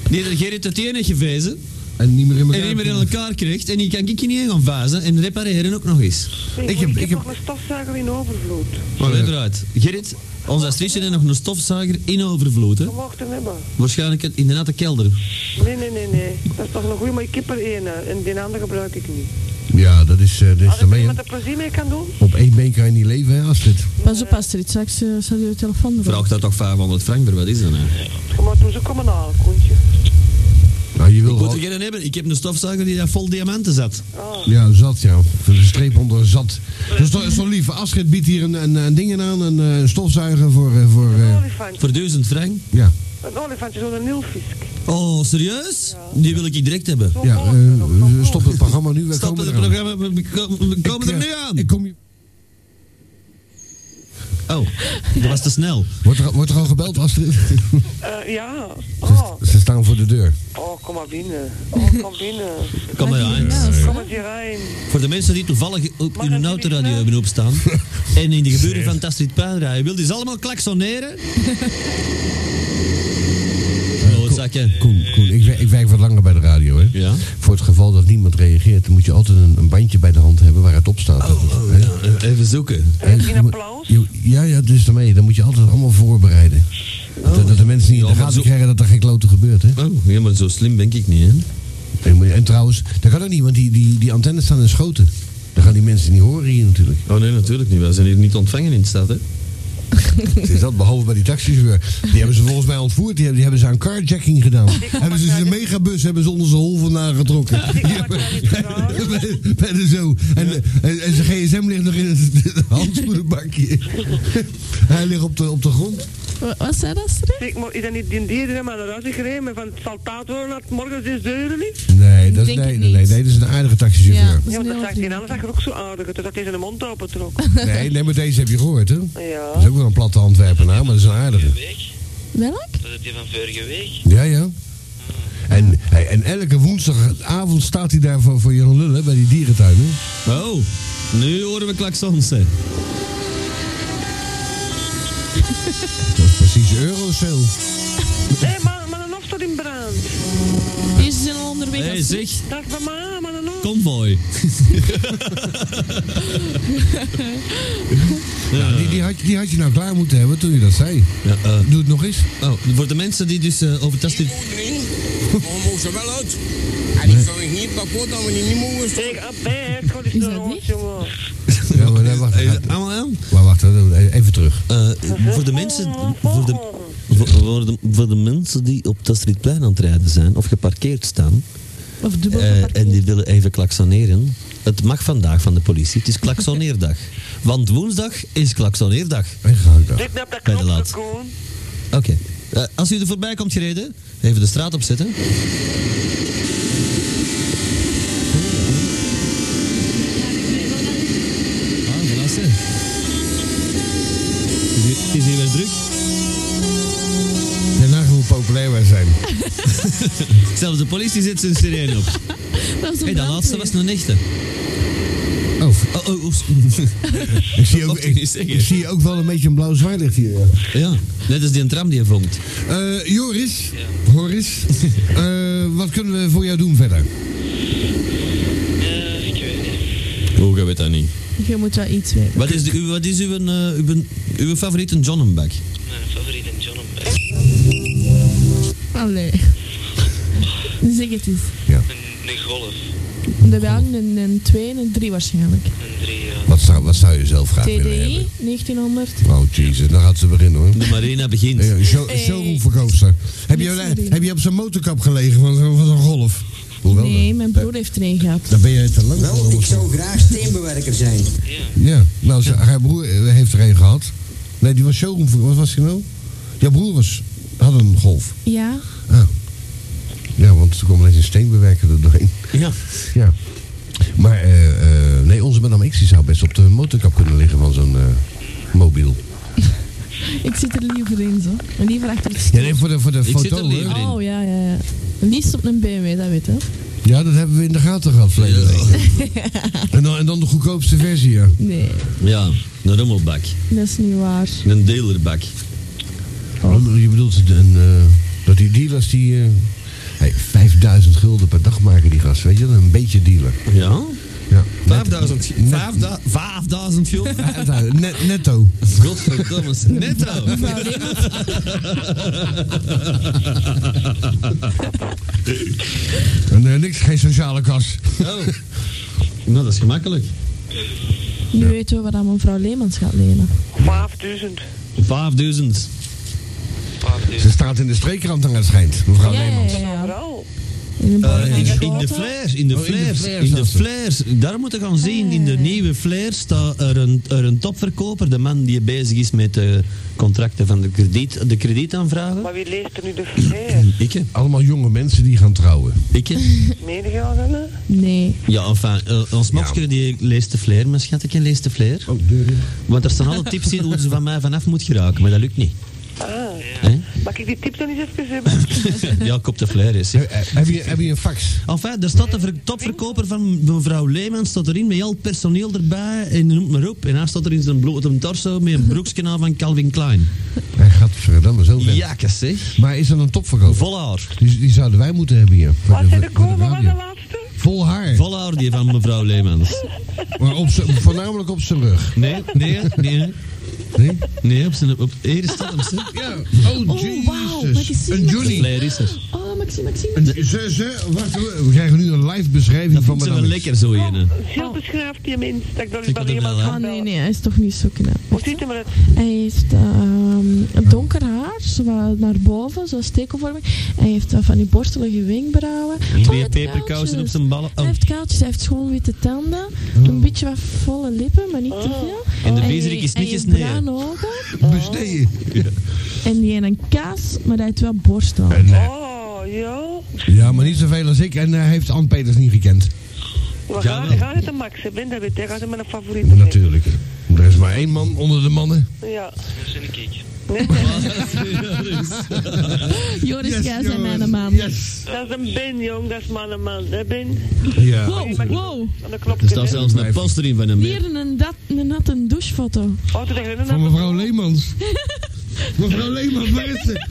S2: Die de Gerrit het ene gevezen
S3: En niet meer in
S2: en niet meer in elkaar krijgt. En die kan ik je niet in gaan vazen en repareren ook nog eens.
S5: Nee,
S3: Ik
S5: ik
S3: heb-
S5: heb,
S3: ik heb-
S5: nog een stofzuiger in overvloed.
S2: Maar weer eruit. Gerrit, ons Astridje heeft nog een stofzuiger in overvloed. Hè?
S5: Je mag hem hebben.
S2: Waarschijnlijk in de natte kelder.
S5: Nee, nee, nee, nee. Dat is toch nog goed, maar ik heb er één hè, en die andere gebruik ik niet.
S3: Ja, dat is, eh dat is
S5: Als
S3: dan
S5: ik
S3: ben
S5: er
S3: je-
S5: met een plezier mee kan doen,
S3: Op één been kan je niet leven, hè, Astrid.
S1: Pas op, Astrid, straks eh, staat je telefoon erop.
S2: Vraag daar toch 500 frank voor, wat is dat nou?
S5: je moet doen ze komen aan, Koentje.
S3: Nou, je wil
S2: Ik moet er
S3: wel...
S2: geen hebben, ik heb een stofzuiger die daar vol diamanten zat.
S3: Ja, zat, ja. Voor de streep onder zat. Dus toch zo lief. Astrid biedt hier een, een, een ding aan, een, eh, een stofzuiger voor... eh, voor
S5: Een
S3: eh,
S5: olifantje.
S2: Voor 1000 frank.
S3: ja,
S5: Een olifantje, zo'n nilfisk.
S2: Oh, serieus? Die wil ik direct hebben.
S5: Zo'n
S3: ja
S5: grote,
S3: eh,
S5: nog zo'n grote.
S3: stop het programma nu. We
S2: Stop
S3: komen
S2: met het
S3: eraan.
S2: programma, we- we komen- we komen
S3: Ik,
S2: er
S3: eh,
S2: nu aan.
S3: Ik kom je...
S2: Oh, dat was te snel.
S3: Wordt er, wordt er al gebeld, Astrid?
S5: Eh, ja. Oh.
S3: Ze staan voor de deur.
S5: oh, kom maar binnen. Oh, kom binnen.
S2: Kom maar aan.
S5: Kom eens hierheen.
S2: Voor de mensen die toevallig op
S5: Mag
S2: hun
S5: het
S2: autoradio
S5: niet,
S2: hebben opstaan en in de geburen van Tastrid Pijn rijden, wil die ze allemaal klaksoneren? Klootzakken.
S3: Koen, Koen ik, wer- ik werk wat langer bij de radio, hè?
S2: Ja.
S3: Voor het geval dat niemand reageert, dan moet je altijd een, een bandje bij de hand hebben waar het op staat.
S2: Oh,
S3: Hè?
S2: Eh, Even zoeken.
S3: En
S5: Een
S3: je moet-
S5: applaus?
S3: je- Ja, ja, dus daarmee. Dan moet je altijd allemaal voorbereiden. Dat, dat de mensen niet in
S2: Oh. Ja, maar
S3: de gaten
S2: zo-
S3: krijgen dat er geen klote gebeurt, hè?
S2: Oh, ja, maar zo slim ben ik niet, hè?
S3: En, moet je- en trouwens, dat kan ook niet, want die, die, die antennes staan in schoten. Dan gaan die mensen niet horen hier natuurlijk.
S2: Oh nee, natuurlijk niet. Wij zijn hier niet ontvangen in de stad, hè?
S3: Het Is dat, behalve bij die taxichauffeur. Die hebben ze volgens mij ontvoerd. Die hebben, die hebben ze aan carjacking gedaan. hebben ze een megabus hebben ze onder zijn hol vandaan getrokken.
S5: Ik had wel iets gedaan.
S3: Bij- bij de zo. En, en, en zijn gsm ligt nog in het handschoenenbakje. Hij ligt op de, op de grond.
S1: Wa- Wat zei dat, Astrid?
S5: Ik moet, is dat niet die dieren maar eruit gereden? Maar van het zal taat worden dat het morgen is de uren niet?
S3: Nee, dat, is-
S1: Denk ik
S3: nee, nee,
S1: niet.
S3: nee, nee, dat is een aardige taxichauffeur.
S1: dat is
S5: Ja,
S1: een
S5: want dat
S1: heel
S5: zag ik
S1: vriend.
S5: die andere zag er ook zo aardig uit. Dus Dat hij zijn mond open trok.
S3: Nee, nee, maar deze heb je gehoord, hè?
S5: Ja.
S3: Dat is ook wel een platte Antwerpenaar, maar dat is een aardige.
S7: Vorige week.
S1: Welk?
S7: Was het die van vorige week?
S3: Ja, ja. En, hey, en elke woensdagavond staat hij daar voor, voor Jan Lullen bij die dierentuin. Hè?
S2: Oh, nu horen we klaksons, hè?
S3: Dat is precies Eurocel.
S5: Hé, hey, maar, maar een hof staat in brand.
S1: Eerst zijn al onderweg.
S2: Hé, hey,
S1: Astrid.
S2: zeg,
S5: Dag mama, maar een hof.
S2: convoy.
S3: Nou, die, die, had, die had je nou klaar moeten hebben toen je dat zei.
S2: Ja, eh,
S3: Doe het nog eens.
S2: Oh, voor de mensen die dus eh, over Tastrid...
S9: mogen wel uit. En ik kan niet kapot dat we niet mogen
S5: Ik abbe, ik ga die
S1: Is dat
S5: snor
S1: niet?
S5: jongen.
S3: Ja, maar, nee, wacht,
S2: Hey,
S3: ga-
S2: Allemaal aan?
S3: maar wacht, hè, even terug.
S2: Eh, voor de mensen...
S5: Oh,
S2: Voor de, voor, voor de, voor de mensen die op Tastridplein aan het rijden zijn, of geparkeerd staan,
S1: Of dubbel
S2: eh, en
S1: geparkeerd.
S2: die willen even klaksoneren... Het mag vandaag van de politie, het is klaksoneerdag. Want woensdag is klaksoneerdag.
S3: Hey, ga ik dan.
S5: Druk op dat
S2: Bij de
S5: knopje,
S2: laat.
S5: Koen.
S2: Oké. Eh, als u er voorbij komt gereden, even de straat opzetten. Ah, voilà, zeg. Is hier- Is hier weer druk?
S3: En nagaan hoe populair wij zijn.
S2: Zelfs de politie zet zijn sirene op.
S1: Dat is een
S2: Hé, dat laatste was
S1: brandweer.
S2: een echte.
S3: Oh,
S2: Oh, oh, oh.
S3: ik zie, ook,
S2: mocht je
S3: ik,
S2: niet zeggen.
S3: ik zie ook wel een beetje een blauw zwaailicht hier. ja.
S2: Ja, net als die een tram die je vond.
S3: Eh, Joris, Horis, eh, wat kunnen we voor jou doen verder?
S7: Eh, ik weet niet.
S2: Hoe weet dat niet?
S1: Je moet wel iets weten.
S2: Wat is, de, uw, wat is uw, eh, uw, uw favoriete Johnnenback?
S7: Mijn favoriete John op
S1: Allee. zeg het eens.
S3: Ja.
S7: Een Een golf.
S1: En Er waren een, een 2 en een 3 waarschijnlijk.
S7: Een drie, ja.
S3: Wat zou, wat zou je zelf graag willen
S1: TDI
S3: hebben?
S1: 1900.
S3: Oh, jezus, dan gaat ze beginnen hoor. Eh,
S2: De marina begint.
S3: Ja, show-
S1: Hey.
S3: Showroomverkoopster. Heb je,
S1: Niks te doen.
S3: heb je op zo'n motorkap gelegen van, zo'n- van zo'n golf? Hoewel,
S1: Nee,
S2: eh,
S3: dan-
S1: mijn broer heeft er een gehad.
S3: Dan ben je te lang
S10: Wel,
S3: voor,
S10: ik
S3: hoor.
S10: zou graag steenbewerker zijn.
S7: Ja.
S3: Ja, nou, ze- haar broer eh, heeft er een gehad. Nee, die was showroomverkoopster. Wat was die nou? Jouw broer was, had een golf.
S1: Ja,
S3: Ja, want er kwam ineens een steenbewerker er doorheen.
S2: Ja.
S3: Ja. Maar, eh, eh, nee, onze Madame X die zou best op de motorkap kunnen liggen van zo'n eh, mobiel.
S1: ik zit er liever in zo. En liever achter het
S3: Ja,
S1: stuur.
S3: nee, voor de, voor de
S2: zit er
S3: foto, hè?
S2: liever in.
S1: Oh ja, ja, ja. Liefst op een BMW, dat weet je.
S3: Ja, dat hebben we in de gaten gehad verleden week. en, dan, en dan de goedkoopste versie, ja.
S1: Nee,
S2: Ja, een rommelbak.
S1: dat is niet waar.
S2: Een dealerbak.
S3: Oh, Je bedoelt een, eh, dat die dealers die... eh, hey, 5000 gulden per dag maken die gasten, weet je wel? Een beetje dealer.
S2: Ja?
S3: Ja.
S2: 5000.
S3: Net-
S2: 5000 gulden.
S3: Net, netto.
S2: Godverdomme, netto.
S3: En, eh, niks, geen sociale kas.
S2: Oh. Nou, dat is gemakkelijk.
S1: Nu weten we waar aan mevrouw Leemans gaat lenen.
S5: 5000.
S2: 5000.
S3: Ze staat in de streekkrant aan het schijnt, mevrouw
S1: ja,
S3: Leemans.
S1: ja, ja.
S5: Vooral.
S1: In een
S2: Eh,
S1: bovenhangende
S2: in, in
S1: auto.
S2: de flares, in de
S3: Oh, in de
S2: flares,
S3: flares
S2: in de
S3: zelfs.
S2: flares. Daar moeten we gaan zien, in de nieuwe flares staat er een, er een topverkoper, de man die bezig is met de contracten van de, krediet, de kredietaanvragen.
S5: Maar wie leest er nu de verkeer?
S2: Ikke,
S3: Allemaal jonge mensen die gaan trouwen.
S2: ikke.
S5: Medegaan, hè?
S1: Nee.
S2: Ja, enfin, eh, ons mopske die leest de flair, mijn schat, ik leest de flair.
S3: Oh, deur in.
S2: Want er staan alle tips in hoe ze van mij vanaf moet geraken, maar dat lukt niet.
S5: Ah.
S2: hè?
S5: Mag ik die tips dan eens even hebben?
S2: ja, kop de flair is.
S3: Eh, eh, Heb je, heb je een fax?
S2: Enfin, er staat de ver- topverkoper van mevrouw Leemans staat erin met al het personeel erbij en noem maar op. En hij staat er in zijn blote torso met een broekskanaal van Calvin Klein.
S3: Hij gaat verdamme zo ver.
S2: Jakkes, zeg.
S3: Maar is dat een topverkoop?
S2: Vol haar.
S3: Die, die zouden wij moeten hebben hier. voor
S5: Wat zijn de
S3: voor de
S5: komen? Wat
S3: radio.
S5: de laatste?
S3: Vol haar.
S2: Vol haar die van mevrouw Leemans.
S3: Maar op z'n- voornamelijk op zijn rug.
S2: Nee, nee, nee.
S3: Nee?
S2: Nee, op zijn... Op, hier is dat hem, zeg.
S3: Ja. Oh,
S1: wauw, wat is
S3: Jesus.
S1: hier
S3: een
S1: met-
S2: De
S3: Johnny.
S2: flair is er.
S1: Oh, Maxime, Maxime.
S3: Een, ze, ze, wacht, we we krijgen nu een live beschrijving
S2: Dat
S3: van
S2: vond ze wel
S3: Madame X.
S2: lekker zo in.
S5: Heel beschrijft die mens. Dat ik dat eens
S2: Ik
S5: bij
S2: wil hem
S5: iemand
S2: wel,
S1: Oh. Ah
S5: kan
S1: nee,
S5: bellen.
S1: nee, hij is toch niet zo knap.
S5: Hoe zit hij met het?
S1: Hij heeft ehm, donker haar, zo wat naar boven, zo stekelvormig. Hij heeft eh, van die borstelige wenkbrauwen. Oh, hij
S2: Twee
S1: heeft
S2: peperkousen op
S1: kaaltjes.
S2: zijn ballen.
S1: Hij
S2: Oh.
S1: heeft kaaltjes, hij heeft schoon witte tanden. Een beetje wat volle lippen, maar niet te veel.
S2: En de
S1: Hij-
S2: bezerik is niet
S1: Hij heeft
S2: gesneden.
S1: bruine ogen
S2: Oh.
S3: Besneden.
S1: en die heeft een kaas, maar hij heeft wel borstel.
S3: Eh, nee.
S5: Oh, ja.
S3: Ja, maar niet zoveel als ik. En eh, hij heeft Ann Peters niet gekend.
S5: We
S2: Ja,
S5: gaan,
S2: wel.
S5: we gaan het een Max hebben. Dat weet ik. Dat is mijn favoriete. mens.
S3: Natuurlijk. Er is maar één man onder de mannen.
S5: Ja.
S7: Dat zijn ik. ik.
S1: Joris, jij bent mijn man.
S3: Yes.
S5: Dat is een Ben, jong. Dat is mijn man. Dat Ben.
S3: Ja.
S1: Wow, wow.
S5: Aan de klop.
S2: Er staat zelfs een poster in van hem. hè.
S1: Hier een, dat, een natte douchefoto.
S5: Oh, toen dacht ik,
S3: Van
S5: dat
S3: mevrouw Leemans. mevrouw Leemans, waar is ze?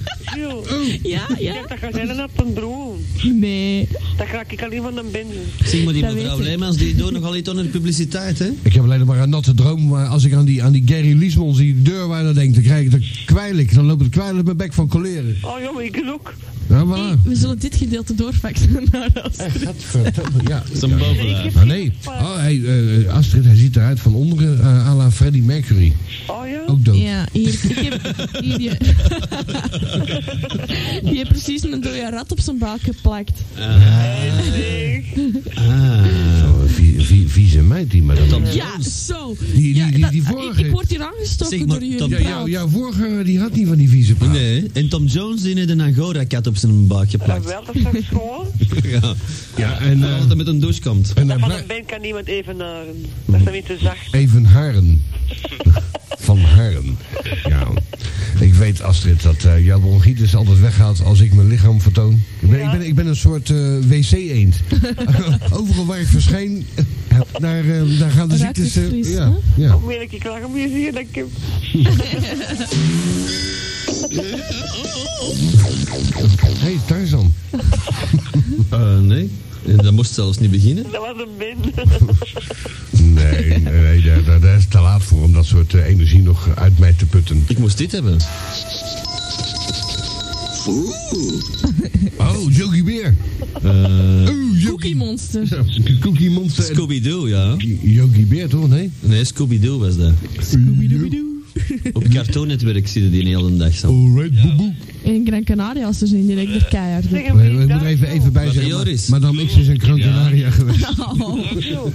S5: is
S1: Ja, ja.
S5: Dat gaat zijn een app en broer.
S1: Nee.
S5: Dat ga ik alleen van een Ben. doen.
S2: Zeg maar, die
S1: Dat
S2: mevrouw
S1: weet ik.
S2: Leemans die doet nogal iets onder de publiciteit, hè?
S3: Ik heb alleen maar een natte droom. Maar als ik aan die, aan die Gary Liesmans, die deurwaarder denk, dan, krijg ik, dan kwijl ik. Dan loopt het kwijl uit mijn bek van Nou, coleren.
S5: Oh, jong, ik ook.
S3: Ja,
S1: Hey,
S2: Ah.
S3: voilà.
S1: we zullen dit gedeelte doorfaxen naar ons.
S3: Gadverdamme, ja.
S2: Zijn bovenaar.
S3: Ah nee, oh, hey, eh, Astrid, hij ziet eruit van onderen eh à la Freddie Mercury.
S5: Oh, ja.
S3: Ook dood.
S1: Ja, hier, ik heb hier die, die heeft precies een dode rat op zijn buik geplakt.
S2: Eh, Ah.
S3: Oh, een vie- vie- vieze meid die maar dan.
S1: Ja, zo.
S3: die-
S1: ja,
S3: die-
S1: dat-
S3: die vorige-
S1: Ik, ik word hier
S2: dus. Zeg
S1: aangestoken
S2: maar,
S1: door jullie
S2: dat-
S3: Ja,
S1: praat.
S3: jouw, jouw voorganger die had niet van die vieze praat.
S2: Nee, en Tom Jones die heeft een Angora-kat op zijn buik
S5: Dat
S2: geplakt.
S5: wel, dat is schoon.
S2: Ja,
S3: Ja, en, eh,
S2: dat hij met een douche komt.
S3: en hij
S5: Van een
S3: blij-
S5: Ben kan niemand evenaren. Dat is dan niet te zacht.
S3: even haren. van haren. Ja. Ik weet, Astrid, dat eh, jouw bronchitis altijd weggaat als ik mijn lichaam vertoon. Ik ben, ik ben, ik ben een soort eh, wc-eend. Overal waar ik verscheen, eh, daar, eh, daar gaan de
S1: Raakt
S3: ziektes...
S1: het
S3: eh,
S1: fris,
S3: ja, ja.
S5: Hoe meer ik ik lach om je zie, dat ik heb...
S3: Hé, hey, Tarzan.
S2: Eh, nee, En dat moest zelfs niet beginnen.
S5: Dat was een Ben.
S3: Nee, nee, nee daar, daar- daar is het te laat voor om dat soort eh, energie nog uit mij te putten.
S2: Ik moest dit hebben.
S3: Oh, Yogi Beer.
S2: Eh,
S3: Oeh, Yogi-
S1: Cookie Monster.
S3: Zo, Cookie Monster. en-
S2: Scooby-Doo, ja.
S3: Yogi Beer, toch? Nee?
S2: Nee, Scooby-Doo was dat. Op Cartoon Network zit die een hele dag. Sam.
S3: Alright, boeboe.
S1: In Gran Canaria is er zijn direct de keihard.
S5: Zeg, en
S3: We,
S5: wie
S3: we moeten
S5: daar-
S3: even, even bij
S2: Wat
S3: zeggen.
S2: Joris?
S3: Ma- Madame X is een krankenaria geweest.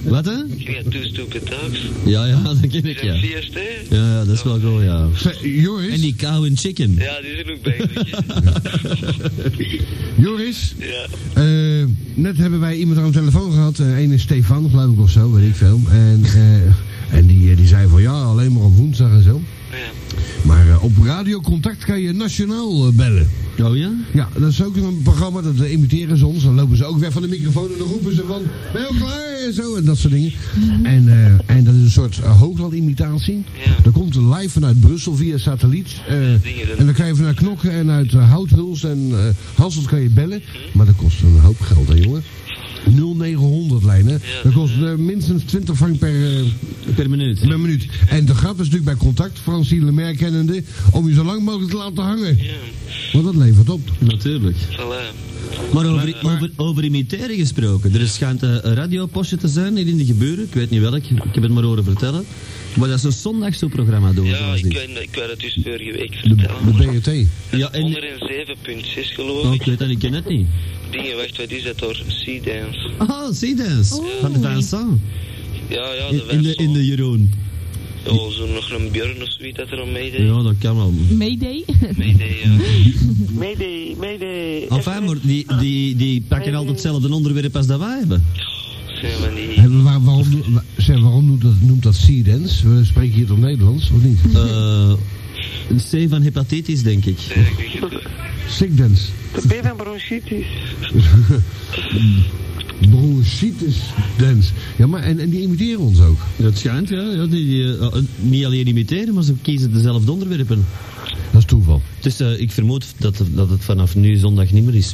S2: Wat, hè?
S7: Ja, two stupid dogs.
S2: Ja, ja, dat ken ik,
S7: Ja.
S2: ja.
S7: Vierst, hè?
S2: Ja, ja, dat is wel cool, ja.
S3: Zeg, Eh, Joris?
S2: En die cow en chicken.
S7: Ja, die is er ook bezig.
S3: Joris?
S7: ja.
S3: Eh, net hebben wij iemand aan de telefoon gehad. eh een is Stefan, geloof ik, of zo, weet ik veel. En, eh, en die, eh, die zei van ja, alleen maar op woensdag en zo.
S7: ja.
S3: Maar eh, op radiocontact kan je nationaal eh, bellen.
S2: Oh ja?
S3: Ja, dat is ook een programma, dat eh, imiteren ze ons. Dan lopen ze ook weg van de microfoon en dan roepen ze van... Ben je al klaar? En zo, en dat soort dingen. En, eh, en dat is een soort eh, hooglandimitatie.
S7: Ja.
S3: Dat komt live vanuit Brussel via satelliet. eh,
S7: dingen.
S3: en dan kan je vanuit Knokken en uit eh, Houthuls en eh Hasselt kan je bellen.
S7: Mhm.
S3: Maar dat kost een hoop geld, hè, jongen. 0900 lijnen. Dat kost eh, minstens 20 frank per... eh,
S2: Per minuut.
S3: per minuut. En de grap is natuurlijk bij contact, Francine Lemaire kennende, om je zo lang mogelijk te laten hangen.
S7: Ja,
S3: Want dat levert op.
S2: Natuurlijk.
S7: voilà.
S2: Maar over,
S7: eh,
S2: over, over imiteren gesproken. Er schijnt eh, een radiopostje te zijn hier in de geburen. Ik weet niet welk, ik heb het maar horen vertellen. Maar dat is een zondags zo'n programma doen.
S7: Ja,
S2: zoals
S7: ik
S2: dit.
S7: weet, ik weet het dus vorige week
S3: De,
S7: vertellen.
S3: de E BRT.
S2: Ja, en...
S7: 107.6 geloof
S2: Oh,
S7: ik.
S2: ik weet dat, ik ken het niet.
S7: Dingen, wacht, wat is dat door? Sea Dance.
S2: Oh, see dance.
S1: Oeh.
S2: Van de Vincent.
S7: Ja, ja,
S2: In,
S7: de
S2: in de, in de Jeroen.
S7: Oh, zo nog een Björn of zoiets dat er om meedeed.
S2: Ja, dat kan wel.
S1: Mayday.
S3: Hmm.
S7: Meedeed, ja.
S5: Mayday, mayday.
S2: Enfin, maar die, die, die pakken altijd hetzelfde onderwerp als dat wij hebben.
S7: Zijn van die...
S3: Hebben we waar- waarom doe- wa- zeg, waarom noemt dat, noemt dat sea dance? We spreken hier toch Nederlands, of niet?
S2: Eh, een C van hepatitis, denk ik.
S3: Sick dance.
S5: De B van bronchitis.
S3: Bronchitis dance. Ja, maar en, en die imiteren ons ook.
S2: Dat schijnt, ja. ja die, die, eh, eh, niet alleen imiteren, maar ze kiezen dezelfde onderwerpen.
S3: Dat is toeval.
S2: Dus eh, ik vermoed dat, dat het vanaf nu zondag niet meer is.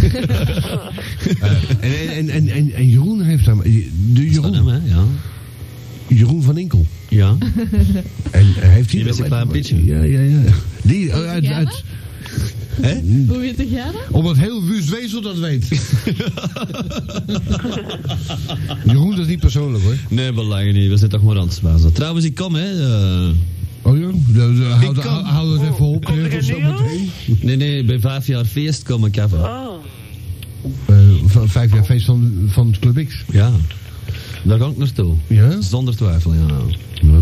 S3: En, en, en, en, en Jeroen heeft daar... De
S2: Van hem,
S3: Jeroen,
S2: hè? Ja.
S3: Jeroen van Inkel.
S2: ja.
S3: En eh, heeft hij...
S2: Die met zijn klein pitje.
S3: Ja, ja, ja. Die eh, uit... uit
S1: Hoe weet jij dat?
S3: omdat heel Wust Wezel dat weet. Jeroen, dat is niet persoonlijk hoor.
S2: Nee, belangen niet. We zijn toch maar aan het spazen. Trouwens, ik kom, hè. eh.
S3: Oh ja? De- de- Hou
S2: kan- Oh,
S3: hou- hou het even op.
S5: Komt er
S3: eh,
S5: een
S3: zo
S5: nieuwe?
S3: meteen.
S2: nee, nee, bij vijf jaar feest kom ik even.
S5: Oh,
S3: Eh, van vijf jaar feest van, van Club X.
S2: Ja. Daar ga ik naartoe.
S3: Ja?
S2: Zonder twijfel, ja.
S3: Nou,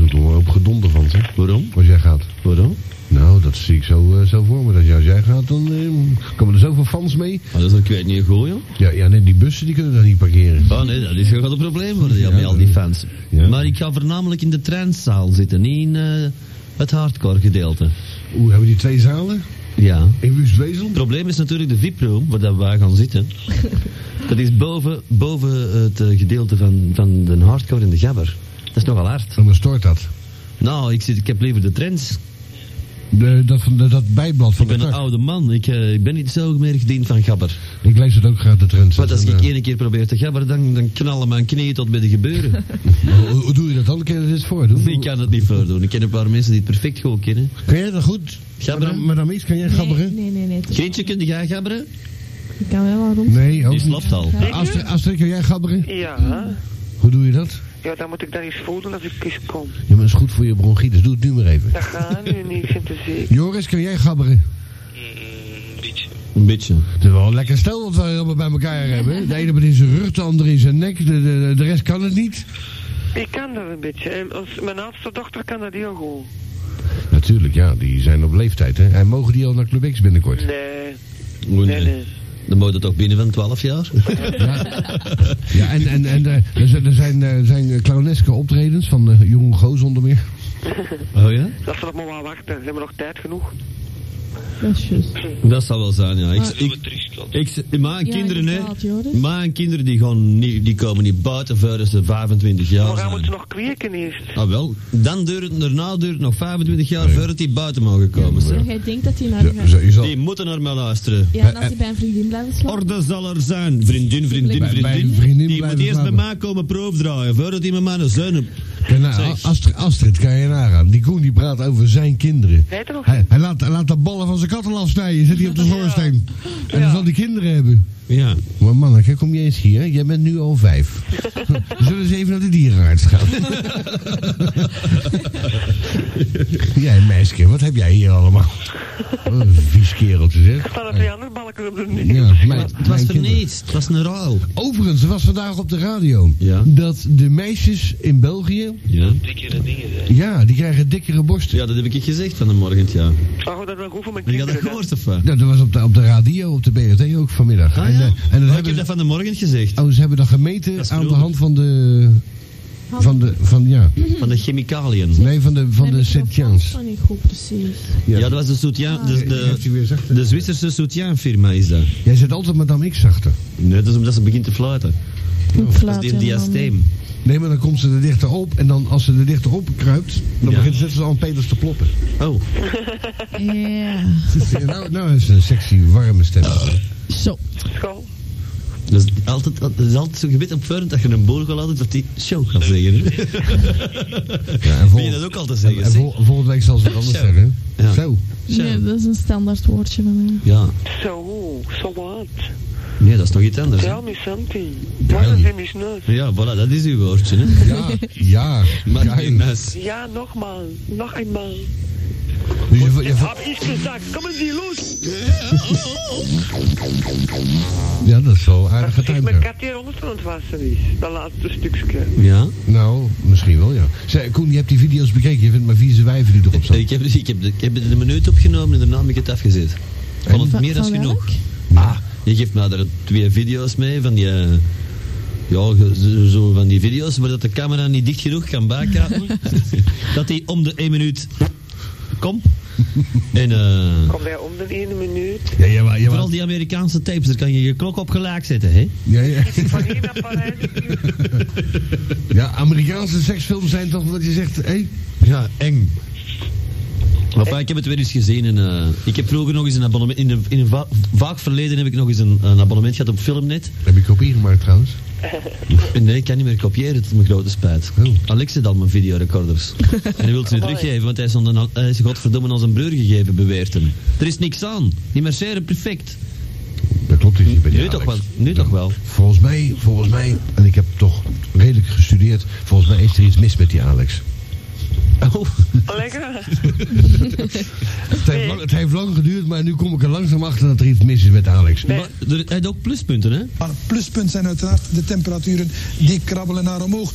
S3: daar komen we op gedonder van, hè?
S2: Waarom?
S3: Als jij gaat.
S2: Waarom?
S3: Nou, dat zie ik zo, eh, zo voor me. Dat je- als jij gaat, dan eh, komen er zoveel fans mee.
S2: Ah, dat is een kwijt niet goed, joh.
S3: Ja, ja nee, die bussen die kunnen daar niet parkeren.
S2: Oh nee, dat is wel een probleem worden, ja, met al die fans.
S3: Ja.
S2: Maar ik ga voornamelijk in de trendzaal zitten, niet in eh, het hardcore gedeelte.
S3: Hoe hebben die twee zalen?
S2: Ja.
S3: In Wustwezel?
S2: Het probleem is natuurlijk de VIP-room, waar dat wij gaan zitten. dat is boven, boven het eh, gedeelte van, van de hardcore en de gabber. Dat is nogal hard.
S3: En dan stort dat.
S2: Nou, ik, zit, ik heb liever de trends.
S3: De, dat, van de- dat bijblad van
S2: Ik ben
S3: de
S2: een
S3: tak.
S2: oude man, ik, eh, ik ben niet zo meer gediend van gabber.
S3: Ik lees het ook graag, de trends. eh,
S2: Want als
S3: Dat
S2: ik
S3: is een,
S2: één keer probeer te gabberen, dan, dan knallen mijn knieën tot bij de gebeuren.
S3: eh, hoe- Hoe doe je dat dan? Kun je dat eens voordoen?
S2: ik kan het niet voordoen. Ik ken een paar mensen die het perfect goed kennen.
S3: Kun jij dat goed?
S2: Gabberen?
S3: Madame- Madame X, kan jij
S1: Nee,
S3: gabberen?
S1: nee, nee. nee.
S2: Geentje, kun jij gabberen?
S1: Ik kan wel rond.
S3: Nee,
S2: Die
S3: ook niet.
S2: slaapt al.
S3: Astrid, Astrid, kan jij gabberen?
S5: ja.
S3: Hoe doe je dat?
S5: Ja, dan moet ik dan eens voelen als ik eens kom.
S3: Ja, maar dat is goed voor je bronchitis. Doe het nu maar even.
S5: Dat gaat nu niet, ik vind het zeker.
S3: Joris, kan jij gabberen?
S7: Mm, een beetje.
S2: Een beetje.
S3: Het is wel een lekker stel wat we allemaal bij elkaar hebben. De ene met in zijn rug, de andere in zijn nek. De, de, de rest kan het niet.
S5: Ik kan dat een beetje. En als, mijn oudste dochter kan dat heel goed.
S3: Natuurlijk, ja. Die zijn op leeftijd, hè. En mogen die al naar Club X binnenkort?
S5: Nee,
S2: Moet
S5: nee, nee.
S2: Dan moet het toch binnen van 12 jaar?
S3: Ja, en, en, en eh, er zijn, er zijn, eh, zijn clowneske optredens van eh Jeroen Goos onder meer.
S2: Oh ja?
S5: Dat ze nog maar wel wachten. Ze hebben nog tijd genoeg.
S1: Dat is juist.
S2: Dat zou wel zijn, ja. Ik,
S7: Zullen we
S2: ik,
S7: terugkomen?
S2: ik, maar
S1: Ja,
S2: kinderen, hè.
S1: inderdaad,
S3: dus.
S1: Joris.
S2: Maar kinderen die, gaan niet, die komen niet buiten voordat ze 25 jaar
S5: Maar hij moet ze
S2: zijn.
S5: nog kweken eerst.
S2: Ah wel, dan duurt het, daarna duurt het nog 25 jaar voordat die buiten mogen komen.
S1: Ja,
S2: zeg.
S1: jij denkt dat hij naar
S3: Zo, zo, je zal-
S2: Die moeten naar mij luisteren.
S1: Ja, en
S3: Eh,
S1: als hij bij een vriendin blijft slapen.
S2: Orde zal er zijn, vriendin, vriendin,
S1: Bij-
S3: bij
S2: vriendin.
S3: een vriendin
S2: Die moet
S3: blijven
S2: eerst bij
S3: slapen.
S2: mij komen proefdraaien voordat die met mij een zoon op-
S3: Ja, nou, Astrid, Astrid, kan je nagaan. Die Koen die praat over zijn kinderen.
S5: Hetero.
S3: Hij, hij laat, hij laat de ballen van zijn katten afsnijden. Zit hij op de schoorsteen. En dan zal die kinderen hebben.
S2: Ja.
S3: Maar manneke, kom je eens hier. Jij bent nu al vijf. We zullen eens even naar de dierenarts gaan. jij meisje, wat heb jij hier allemaal? Wat een vies kereltje zeg.
S5: Staan er twee andere balken op de
S3: Ja,
S5: neus.
S3: mijn,
S2: Het was
S3: mijn
S2: voor
S3: kinderen.
S2: niets. Het was een rouw.
S3: Overigens, er was vandaag op de radio
S2: Ja.
S3: dat de meisjes in België,
S2: Ja.
S7: Dikkere dingen zijn.
S3: ja, die krijgen dikkere borsten.
S2: ja, dat heb ik je gezegd van de morgen, ja.
S5: Maar goed, dat wel goed voor mijn
S2: Heb je dat
S5: kinderen.
S2: gehoord of wat?
S3: Ja, Nou, dat was op de, op de radio, op de BRT ook vanmiddag.
S2: Ah,
S3: En,
S2: ja?
S3: eh, en dat
S2: Oh, ik
S3: hebben
S2: heb
S3: ze,
S2: dat van de morgen gezegd.
S3: oh, ze hebben dat gemeten
S2: Dat is
S3: aan de
S2: bedoeld.
S3: hand van de, van de, van, ja,
S2: Van de chemicaliën.
S3: nee, van de, van de Sint-Jans.
S1: Dat niet Oh, goed, precies.
S2: Ja, dat was de soutien, de,
S3: Heeft u
S2: de,
S3: weer zachter?
S2: de Zwitserse soutienfirma is dat.
S3: Jij zet altijd Madame X zachter.
S2: Nee, dat is omdat ze begint te fluiten.
S1: Ik
S2: Dat
S1: fluit
S2: is die
S1: helemaal niet.
S2: diasteem.
S3: Nee, maar dan komt ze er dichter op en dan als ze er dichter op kruipt, dan
S2: Ja.
S3: begint ze net als aan Peters te ploppen.
S2: Oh,
S1: Ja.
S3: Ja, nou, nou is ze een sexy, warme stem.
S1: Zo.
S5: Schoon.
S2: dat is altijd, dat is altijd zo'n gebit opvullend dat je een boer gaat laten dat die show gaat zeggen.
S3: Ja, en
S2: Wil je dat
S3: volgend,
S2: ook altijd
S3: en,
S2: zeggen?
S3: en
S2: zeg?
S3: vol- volgende week zal ze het anders
S2: Zo.
S3: zeggen.
S2: Ja.
S3: Zo.
S2: Zo.
S1: Nee, dat is een standaard woordje van mij.
S2: Ja,
S5: Zo, zo wat.
S2: nee, dat is nog iets anders. hè?
S5: Tell me something. Wat is in mijn neus?
S2: Ja, voilà, dat is uw woordje. Hè?
S3: Ja, ja.
S2: Maar
S3: Kijk.
S2: geen mes.
S5: Ja, nogmaal. Nog eenmaal.
S3: Dus je, je-
S5: Ik heb iets gezegd. Kom eens hier los.
S3: ja, dat is wel aardig
S5: Als ik mijn
S3: getimed.
S5: kat hier rond aan het wassen is. Dat laatste stukje.
S2: Ja,
S3: Nou, misschien wel, ja. Zeg, Koen, je hebt die video's bekeken. Je vindt maar vieze wijven die erop staan.
S2: ik heb, ik, heb, ik heb er een minuut opgenomen en daarna heb ik het afgezet. Ik vond het
S1: Van-
S2: meer dan
S1: van
S2: genoeg.
S1: welk?
S2: Ah, je geeft mij daar twee video's mee van die... eh, Ja, ge- zo- zo van die video's waar dat de camera niet dicht genoeg kan bijkraten. dat die om de één minuut... Kom. En eh,
S5: Kom daar om de ene minuut.
S3: Ja, ja, maar... Ja,
S2: vooral die Amerikaanse tapes, daar kan je je klok op gelijk zetten, hè?
S3: ja, ja.
S5: Van hier naar Parijs.
S3: ja, Amerikaanse seksfilms zijn toch dat je zegt... Hé,
S2: Ja, eng. Enfin, eh, ik heb het weer eens gezien. En, eh, ik heb vroeger nog eens een abonnement... In een, in een va- vaak verleden heb ik nog eens een, een abonnement gehad op Filmnet.
S3: heb je kopie gemaakt trouwens?
S2: En Nee, ik kan niet meer kopiëren, tot mijn grote spijt.
S3: Oh.
S2: Alex zit al mijn videorecorders. en hij wil ze nu teruggeven, want hij is, aan de- hij is godverdomme aan zijn broer gegeven, beweert hem. Er is niks aan. Die marcheren perfect.
S3: Dat klopt dus niet bij die
S2: Nu toch wel,
S3: Alex.
S2: nu toch wel.
S3: Volgens mij, volgens mij, en ik heb toch redelijk gestudeerd, volgens mij is er iets mis met die Alex.
S2: Oh,
S5: Lekker.
S3: Het heeft, lang, het heeft lang geduurd, maar nu kom ik er langzaam achter dat er iets mis is met Alex.
S2: maar er, hij had ook pluspunten, hè?
S6: Maar het pluspunt zijn uiteraard de temperaturen die krabbelen naar omhoog.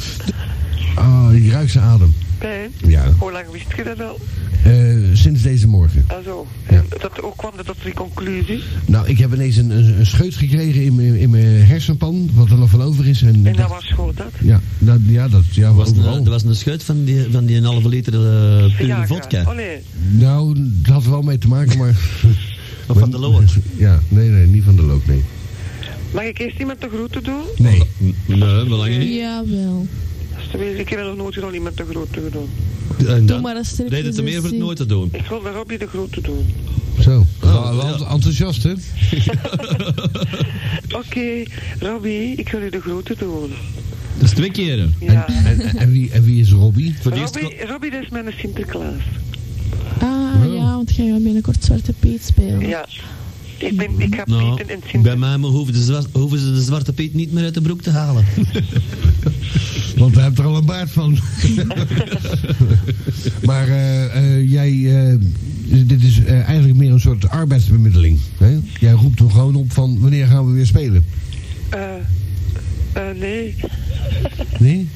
S3: Ah, ik ruik zijn adem.
S5: Pijn.
S3: Ja.
S5: Hoe lang wist je dat al?
S3: Eh, sinds deze morgen.
S5: Also, en dat, hoe kwam dat tot die conclusie?
S3: Nou, ik heb ineens een, een, een scheut gekregen in mijn, in mijn hersenpan, wat er nog van over is. En,
S5: En dat was gewoon dat.
S3: Ja, dat, ja, dat, ja,
S2: Was een,
S3: overal.
S2: er was een scheut van die, van die een halve liter eh pure
S5: Viagra.
S2: vodka.
S5: Oh nee.
S3: Nou, dat had er wel mee te maken, maar...
S2: Of van de lood.
S3: Ja, nee, nee, niet van de lood, nee.
S5: Mag ik eerst iemand de groeten doen?
S3: Nee.
S2: Nee, belangrijk niet.
S1: Jawel.
S5: Alsjeblieft, Ik heb nog nooit nog iemand de groeten gedaan.
S2: En
S1: Doe
S2: dan
S1: maar een stripje.
S2: reden te meer voor het
S1: Zessie.
S2: nooit te doen.
S5: Ik wil de Robbie de groeten doen.
S3: Zo.
S2: Oh,
S3: Wel
S2: ja.
S3: Enthousiast, hè?
S5: Oké, Robbie, ik wil u de groeten doen.
S2: Dat is twee keren.
S5: Ja.
S3: En, en, en wie, en wie is Robbie?
S2: Voor het eerst kon-
S5: Robbie, Robbie, dat is mijn Sinterklaas.
S3: Oh.
S1: Ah, ja, want jij gaat binnenkort Zwarte Piet spelen.
S5: Ja. Ik, ben, ik heb
S2: nou,
S5: Pieten en
S2: bij
S5: Sinterklaas.
S2: mij hoeven, de zwar- hoeven ze de zwarte piet niet meer uit de broek te halen.
S3: Want hij heeft er al een baard van. maar eh, eh, jij, eh, dit is eh, eigenlijk meer een soort arbeidsbemiddeling. Hè? Jij roept hem gewoon op van wanneer gaan we weer spelen?
S5: Eh, eh, nee,
S3: Nee?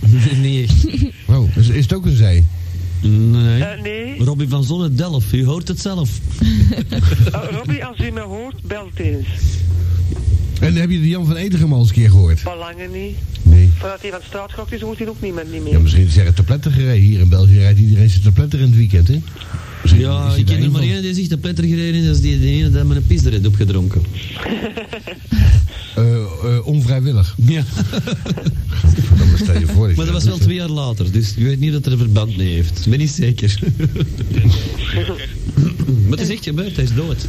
S2: nee, echt.
S3: Oh, is, is het ook een zij?
S2: Nee.
S5: Eh, nee.
S2: Robbie van Zonne Delft, u hoort het zelf.
S5: Eh, Robbie, als u me hoort, belt eens.
S3: En heb je de Jan van Edegem al eens een keer gehoord?
S5: Belangen niet.
S3: Nee.
S5: Voordat hij van straat gaat is, hoort hij ook niemand niet
S3: Ja,
S5: meer.
S3: misschien is er te pletter gereden. Hier in België rijdt iedereen zijn te pletter in het weekend, hè? Misschien is
S2: Ja, ik
S3: hij daar
S2: ken er
S3: een
S2: maar
S3: van.
S2: één die zich de pletter gereden heeft, dat is die, die ene die met een pis eruit opgedronken.
S3: Eh, eh, onvrijwillig.
S2: Ja.
S3: Verdomme, stel je voor.
S2: Maar dat was wel twee jaar later, dus ik weet niet dat er een verband mee heeft. Ik ben niet zeker. maar het is echt gebeurd, hij is dood.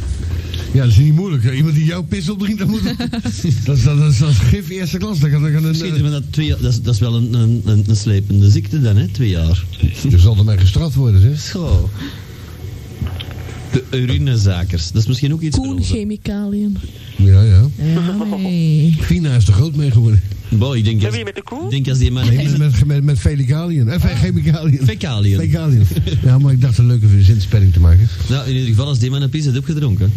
S3: Ja, dat is niet moeilijk. hè. Iemand die jouw pis opdringt, dat moet... dat, is, dat, is, dat is gif eerste klas. Dat kan, dat kan een, eh,
S2: Schieten we dat twee jaar- dat is, dat is wel een, een, een, een slepende ziekte dan, hè? Twee jaar.
S3: eh, je zal ermee gestraft worden, zeg.
S2: Zo. De urinezakers. Dat is misschien ook iets voor
S1: Koen
S2: ons, hè.
S1: chemicaliën.
S3: Ja, ja.
S1: Ja, nee.
S3: Fina is er groot mee geworden.
S2: Bo, ik denk
S5: Heb
S2: als,
S5: je met de koe?
S2: ik denk als die man
S3: Met, met, met, met felicaliën. Eh, fe- chemicaliën.
S2: Fecaliën.
S3: Fecaliën. Ja, maar ik dacht een leuke zinspelling te maken.
S2: Nou, in ieder geval als die man een pis heeft opgedronken.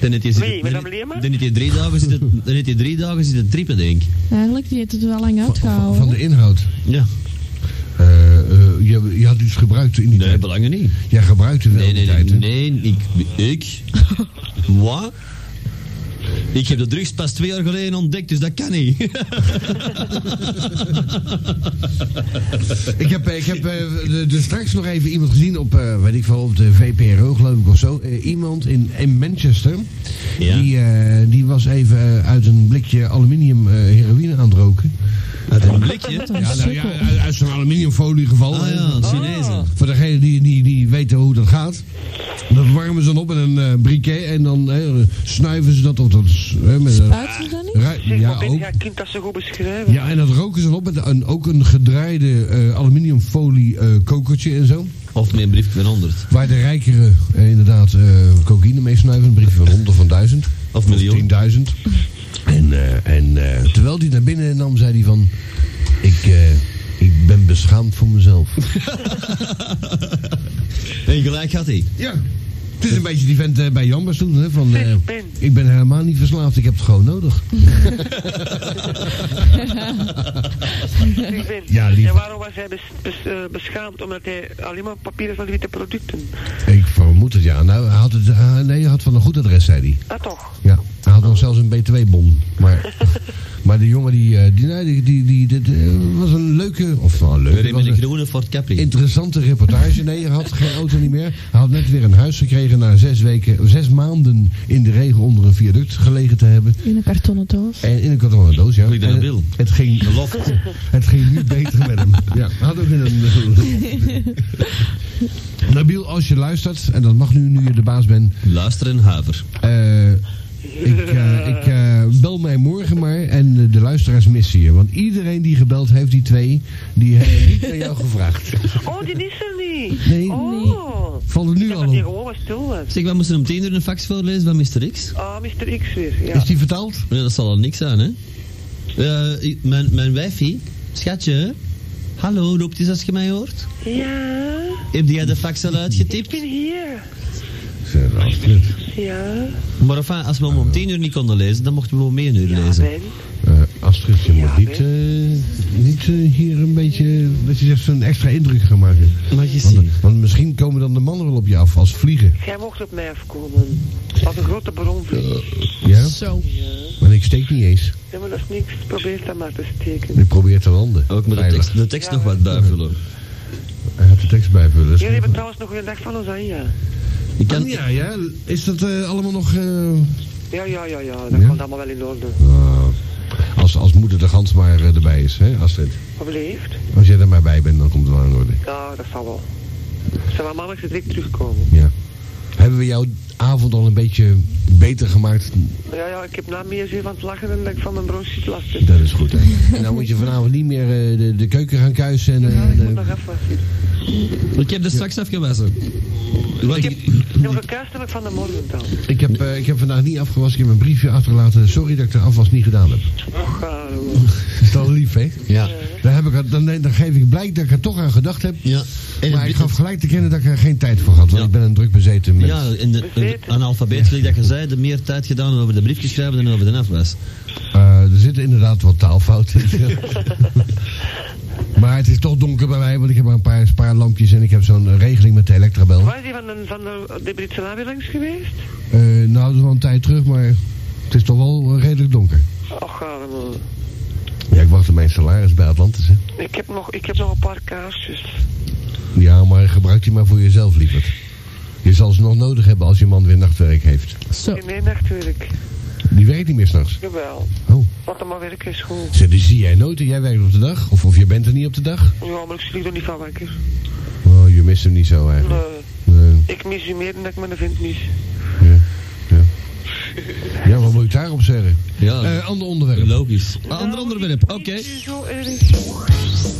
S2: Dan heeft hij
S5: Wie,
S2: zitten-
S5: madame
S2: dan-
S5: Leerman?
S2: dan heeft hij drie dagen zitten- dan heeft hij drie dagen zitten trippen, denk ik.
S1: Eigenlijk, die heeft het wel lang
S3: Van, van
S1: uitgehouden.
S3: de inhoud.
S2: Ja.
S3: Eh, eh, je, je had iets gebruikt in die
S2: Nee,
S3: tijd.
S2: belangen niet.
S3: Jij gebruikte wel
S2: Nee,
S3: die
S2: nee,
S3: tijd,
S2: nee,
S3: hè?
S2: nee, ik, ik, wat? Ik heb de drugs pas twee jaar geleden ontdekt, dus dat kan niet.
S3: Ik heb, eh, ik heb eh, de, de- straks nog even iemand gezien op, eh, weet ik veel, op de VPRO geloof ik of zo. Eh, iemand in, in Manchester.
S2: Ja.
S3: Die, eh, die was even eh, uit een blikje aluminium eh, heroïne aan het roken.
S2: Uit een eh, blikje.
S3: Ja, nou, ja,
S1: sukkel.
S3: uit, uit zo'n aluminiumfolie gevallen.
S2: Ah ja, een Chinezen.
S3: Voor degenen die, die, die weten hoe dat gaat. Dat warmen ze dan op in een eh, briquet en dan eh, snuiven ze dat op. Dat, is, eh, met, een
S1: Spuiten ze dat niet?
S3: ru-
S5: Zeg,
S3: ja,
S5: maar ben
S3: ook.
S5: je haar kind dat zo goed beschrijven?
S3: Ja, en dat roken ze dan op met een, ook een gedraaide eh, aluminiumfolie eh, kokertje en zo.
S2: Of met een briefje van 100.
S3: Waar de rijkeren eh, inderdaad eh, cocaïne mee snuiven. Een briefje van 100 of van 1000.
S2: Of miljoen.
S3: 10.000. En, eh, en eh, terwijl hij naar binnen nam, zei hij van... Ik, eh, ik ben beschaamd voor mezelf.
S2: En gelijk had hij.
S3: Ja. Het is een beetje die vent eh, bij Jambers toen, hè, van... eh,
S5: Zeg, Ben.
S3: ik ben helemaal niet verslaafd, ik heb het gewoon nodig.
S5: Ik ben.
S3: Ja, lief.
S5: En waarom was hij bes- bes- eh, beschaamd? Omdat hij alleen maar papieren van de witte producten
S3: Ik vermoed het, ja. Nou, hij had het, ah, nee, hij had van een goed adres, zei hij.
S5: Ah, toch?
S3: Ja. Hij had nog zelfs een btw-bon. Maar, maar de jongen die... eh, die, nee, die, die, die dit, eh, was een leuke... Of nou, leuk.
S2: Weer in
S3: was
S2: met
S3: een
S2: een groene Ford Capri.
S3: Interessante reportage. Nee, hij had geen auto niet meer. Hij had net weer een huis gekregen na zes weken, zes maanden in de regen onder een viaduct gelegen te hebben.
S1: In een kartonnen doos.
S3: En in een kartonnen doos, ja.
S2: Hoe ik dat
S3: En het-
S2: wil.
S3: Het ging
S2: Loft.
S3: het ging nu beter met hem. Ja, hij had ook in een... Nabil, als je luistert, en dat mag nu, nu je de baas bent.
S2: Luister en huiver.
S3: eh, ik eh, ik eh, bel mij morgen maar en eh, de luisteraars missen je. Want iedereen die gebeld heeft, die twee, die hebben niet naar jou gevraagd.
S5: Oh, die is er niet.
S3: Nee.
S5: Oh.
S3: Valt het
S5: Ik
S3: nu
S5: dacht
S3: al
S5: dat hij
S3: op?
S5: gewoon wat stil was.
S2: Zeg, wij moesten om tien uur een fax voorlezen van Mr. X.
S5: Ah, Mr. X weer. Ja.
S3: Is die vertaald?
S2: Ja, dat zal al niks aan, hè? Eh, ik- mijn, mijn wifi, schatje, hallo, roept eens als je mij hoort.
S5: ja,
S2: Heb jij de fax al
S5: ik
S2: uitgetipt?
S5: ben hier.
S3: Eh,
S5: Ja.
S2: Maar enfin, als we hem om tien uur niet konden lezen, dan mochten we om één uur
S5: Ja,
S2: lezen.
S5: Ben.
S3: Eh, Astrid, je
S5: Ja,
S3: moet niet, eh, niet eh, hier een beetje, dat je zegt, zo'n extra indruk gaan maken.
S2: Mag je
S3: Want, eh,
S2: zien.
S3: want misschien komen dan de mannen wel op je af als vliegen.
S5: Jij mocht op mij afkomen. Als een grote bron van.
S3: Ja,
S1: Zo.
S3: maar ik steek niet eens.
S5: Ja, maar dat is niks. Probeer dat maar te steken.
S3: Ik probeer te landen.
S2: Ook met de
S3: Veilig.
S2: tekst, de tekst
S5: Ja.
S2: nog wat bijvullen.
S3: Hij gaat de tekst bijvullen. dat is
S5: Jullie
S3: goed.
S5: hebben trouwens nog een dag van ons aan, ja.
S2: Ik kan,
S3: Oh, Ja, ja, is dat eh, allemaal nog... eh,
S5: Ja, ja, ja, ja. Dat
S3: Ja?
S5: komt allemaal wel in orde.
S3: ah, als, als moeder de gans maar eh, erbij is, hè, Astrid?
S5: Wat beleefd?
S3: Als jij er maar bij bent, dan komt het wel in orde.
S5: Ja, dat zal wel. Zal mijn mannetje direct terugkomen.
S3: Ja. Hebben we jouw avond al een beetje beter gemaakt?
S5: Ja, ja, ik heb na meer zin van het lachen en dat ik van mijn broodjes last heb.
S3: Dat is goed, hè. En dan moet je vanavond niet meer eh, de, de keuken gaan kuisen en... eh,
S5: Ja, ik
S3: de-
S5: moet nog even.
S2: ik heb de straks afgewassen. Want ik-
S5: Ik heb gekuist heb ik van de morgen dan.
S3: Ik heb, eh, ik heb vandaag niet afgewassen. Ik heb mijn briefje achtergelaten. Sorry dat ik de afwas niet gedaan heb.
S5: Ja,
S3: Is dat lief, hè?
S2: Ja.
S3: Daar heb ik, het- dan, dan geef ik blijk dat ik er toch aan gedacht heb.
S2: Ja. En
S3: maar ik
S2: het-
S3: gaf gelijk te kennen dat ik er geen tijd voor had. Want
S2: Ja.
S3: ik ben een druk bezeten mens.
S2: Ja, in de, in de analfabeet, gelijk dat je zei, de meer tijd gedaan over de briefjes schrijven dan over de afwas.
S3: Eh, er zitten inderdaad wat taalfouten in. maar het is toch donker bij mij. Want ik heb maar een paar spaarlampjes. En ik heb zo'n eh, regeling met de elektrabel.
S5: Was die van de, van de, de Britse weer langs geweest?
S3: Eh, nou, dat is wel een tijd terug. Maar het is toch wel eh, redelijk donker.
S5: Och, allemaal.
S3: Ja, ik wacht op mijn salaris bij Atlantis, hè.
S5: Ik heb nog, ik heb nog een paar kaarsjes.
S3: Ja, maar gebruik die maar voor jezelf, lieverd. Je zal ze nog nodig hebben als je man weer nachtwerk heeft.
S1: Zo.
S5: In één nachtwerk.
S3: Die werkt niet meer s'nachts.
S5: Jawel.
S3: Oh.
S5: Wat dan maar werken is goed.
S3: Ze, die zie jij nooit en jij werkt op de dag? Of, of je bent er niet op de dag?
S5: Ja, maar ik sliep er niet van wakker.
S3: Oh, je mist hem niet zo eigenlijk.
S5: Nee,
S3: Nee.
S5: ik mis u meer dan dat ik mijn vent mis.
S3: Ja. ja. Ja, wat moet ik daarop zeggen?
S2: Ja.
S3: Eh, ander onderwerp.
S2: Logisch. Een ander onderwerp, oké.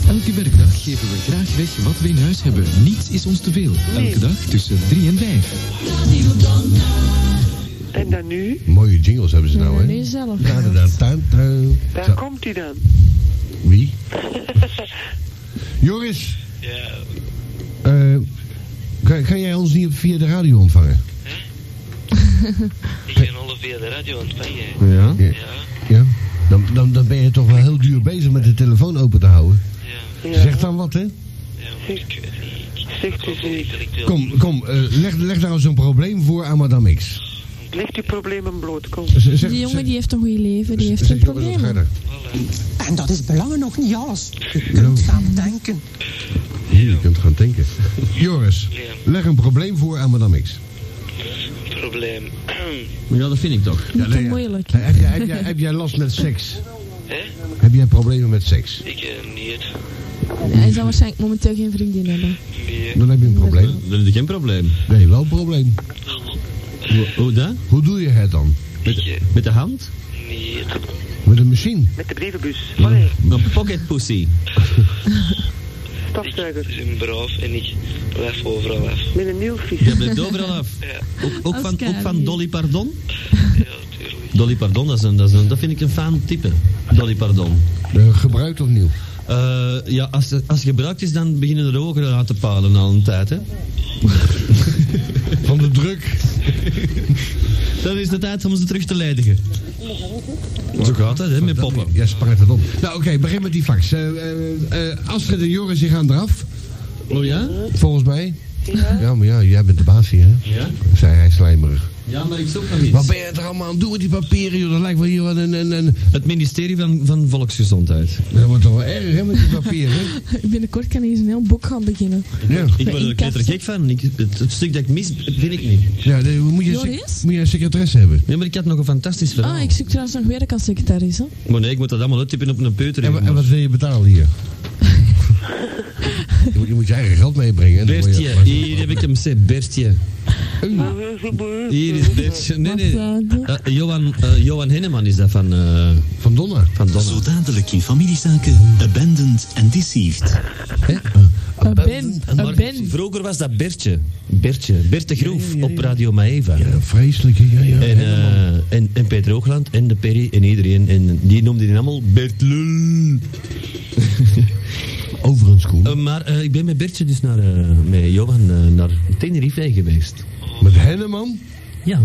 S11: Elke werkdag geven we graag weg wat we in huis hebben. Niets is ons te veel. Elke dag tussen 3 en 5.
S5: En dan nu?
S3: Eh, Mooie jingles hebben ze nou, hè?
S5: Nee, zelf.
S3: Ja, inderdaad. Tuin, tuin.
S5: Daar
S3: Zo.
S5: komt hij dan.
S3: Wie? Joris. Eh, kan, kan jij ons niet via de radio ontvangen?
S7: Ik ben al via de radio ontvangen. hè.
S3: Ja. Ja. Dan, dan, dan ben je toch wel heel duur bezig met de telefoon open te houden. Zeg dan wat, hè?
S5: Zegt u ze.
S3: Kom, kom eh, leg, leg nou zo'n probleem voor aan Madame X.
S5: Legt uw problemen bloot, kom.
S3: Z- zeg-
S1: die jongen die heeft een goed leven, die heeft
S3: Zeg,
S1: een
S3: jongens, wat ga je
S1: probleem.
S3: daar?
S10: En dat is belangen nog niet alles. Je kunt gaan denken.
S3: Hier, je kunt gaan denken. Joris, leg een probleem voor aan Madame X.
S7: Probleem.
S2: Ja, dat vind ik toch.
S3: Ja, nee, ja.
S1: moeilijk.
S3: Eh, Heb jij, heb, jij, heb jij last met seks?
S7: Hè?
S3: Heb jij problemen met seks?
S7: Ik eh, niet.
S1: Hij zou waarschijnlijk momenteel geen vriendin hebben.
S7: Nee.
S3: Dan heb je een probleem.
S2: Dan is er geen probleem.
S3: Nee, wel een probleem.
S2: Hoe, hoe dan?
S3: Hoe doe je het dan?
S2: Met, met de hand?
S7: Niet.
S3: Met een machine?
S5: Met de brievenbus. Allee,
S2: Een pocket pussy.
S7: Ik ben braaf en ik blijf overal af.
S5: met een nieuwvis.
S2: Je blijft overal af.
S7: Ja,
S2: Ook, ook,
S1: Als
S2: van, ook van
S1: Karin.
S2: Dolly Pardon?
S7: ja, tuurlijk.
S2: Dolly Pardon, dat, is een, dat, is een- dat vind ik een fijn type. Dolly Pardon.
S3: Eh, gebruikt of nieuw?
S2: Eh, ja, als, het- als het gebruikt is, dan beginnen de ogen aan te palen al een tijd, hè.
S3: Van de druk.
S2: Dan is de tijd om ze terug te ledigen. Zo gaat dat, hè, met poppen.
S3: Ja, spart het op. Nou, oké, begin met die fax. Eh, eh, eh, Astrid en Joris, die gaan eraf.
S2: Oh ja?
S3: Volgens mij.
S5: Ja.
S3: Ja, maar ja, jij bent de baas hier, hè?
S2: Ja?
S3: Zei hij slijmerig.
S2: Ja, maar ik zoek nog iets.
S3: Wat ben je er allemaal aan het doen met die papieren, joh? Dat lijkt wel hier wat een... een, een...
S2: Het ministerie van, van Volksgezondheid.
S3: Dat wordt toch wel erg, hè, met die papieren?
S1: Binnenkort kan hij eens een heel boek gaan beginnen.
S3: ja.
S2: Ik word er
S1: Inkassen.
S2: knettergek van. Ik, het, het stuk dat ik mis, vind ik niet.
S3: ja nee, moet, je een sec-
S1: Joris?
S3: moet je een secretaresse hebben.
S2: Ja, maar ik had nog een fantastisch verhaal.
S1: Ah, ik zoek trouwens nog werk als secretaris. Hè?
S3: Ah,
S2: Maar nee, ik moet dat allemaal uittypen op een peuter.
S3: En, wa- en
S2: jongen.
S3: wat wil je betalen hier? je, moet, je moet je eigen geld meebrengen. en dan word je-
S2: Bertje, hier heb ik hem gezegd, Bertje. Hier is Bertje. Nee, nee. Eh, Johan, eh, Johan Henneman is dat van, eh,
S3: Van Donna.
S2: van Donna.
S12: Zo dadelijk in familiezaken, abandoned en deceived.
S1: Een ben, een
S2: Maar
S1: ben.
S2: vroeger was dat Bertje. Bertje. Bertje Groef op Radio Maeva.
S3: Ja, vreselijk. Ja, ja.
S2: En, eh, en, en Peter Hoogland en de Perry en iedereen. En die noemden die allemaal Bertlul.
S3: Overigens, Koen.
S2: Eh, maar eh, ik ben met Bertje dus naar, eh, met Johan eh, naar Tenerife geweest.
S3: Met Henneman?
S2: Ja.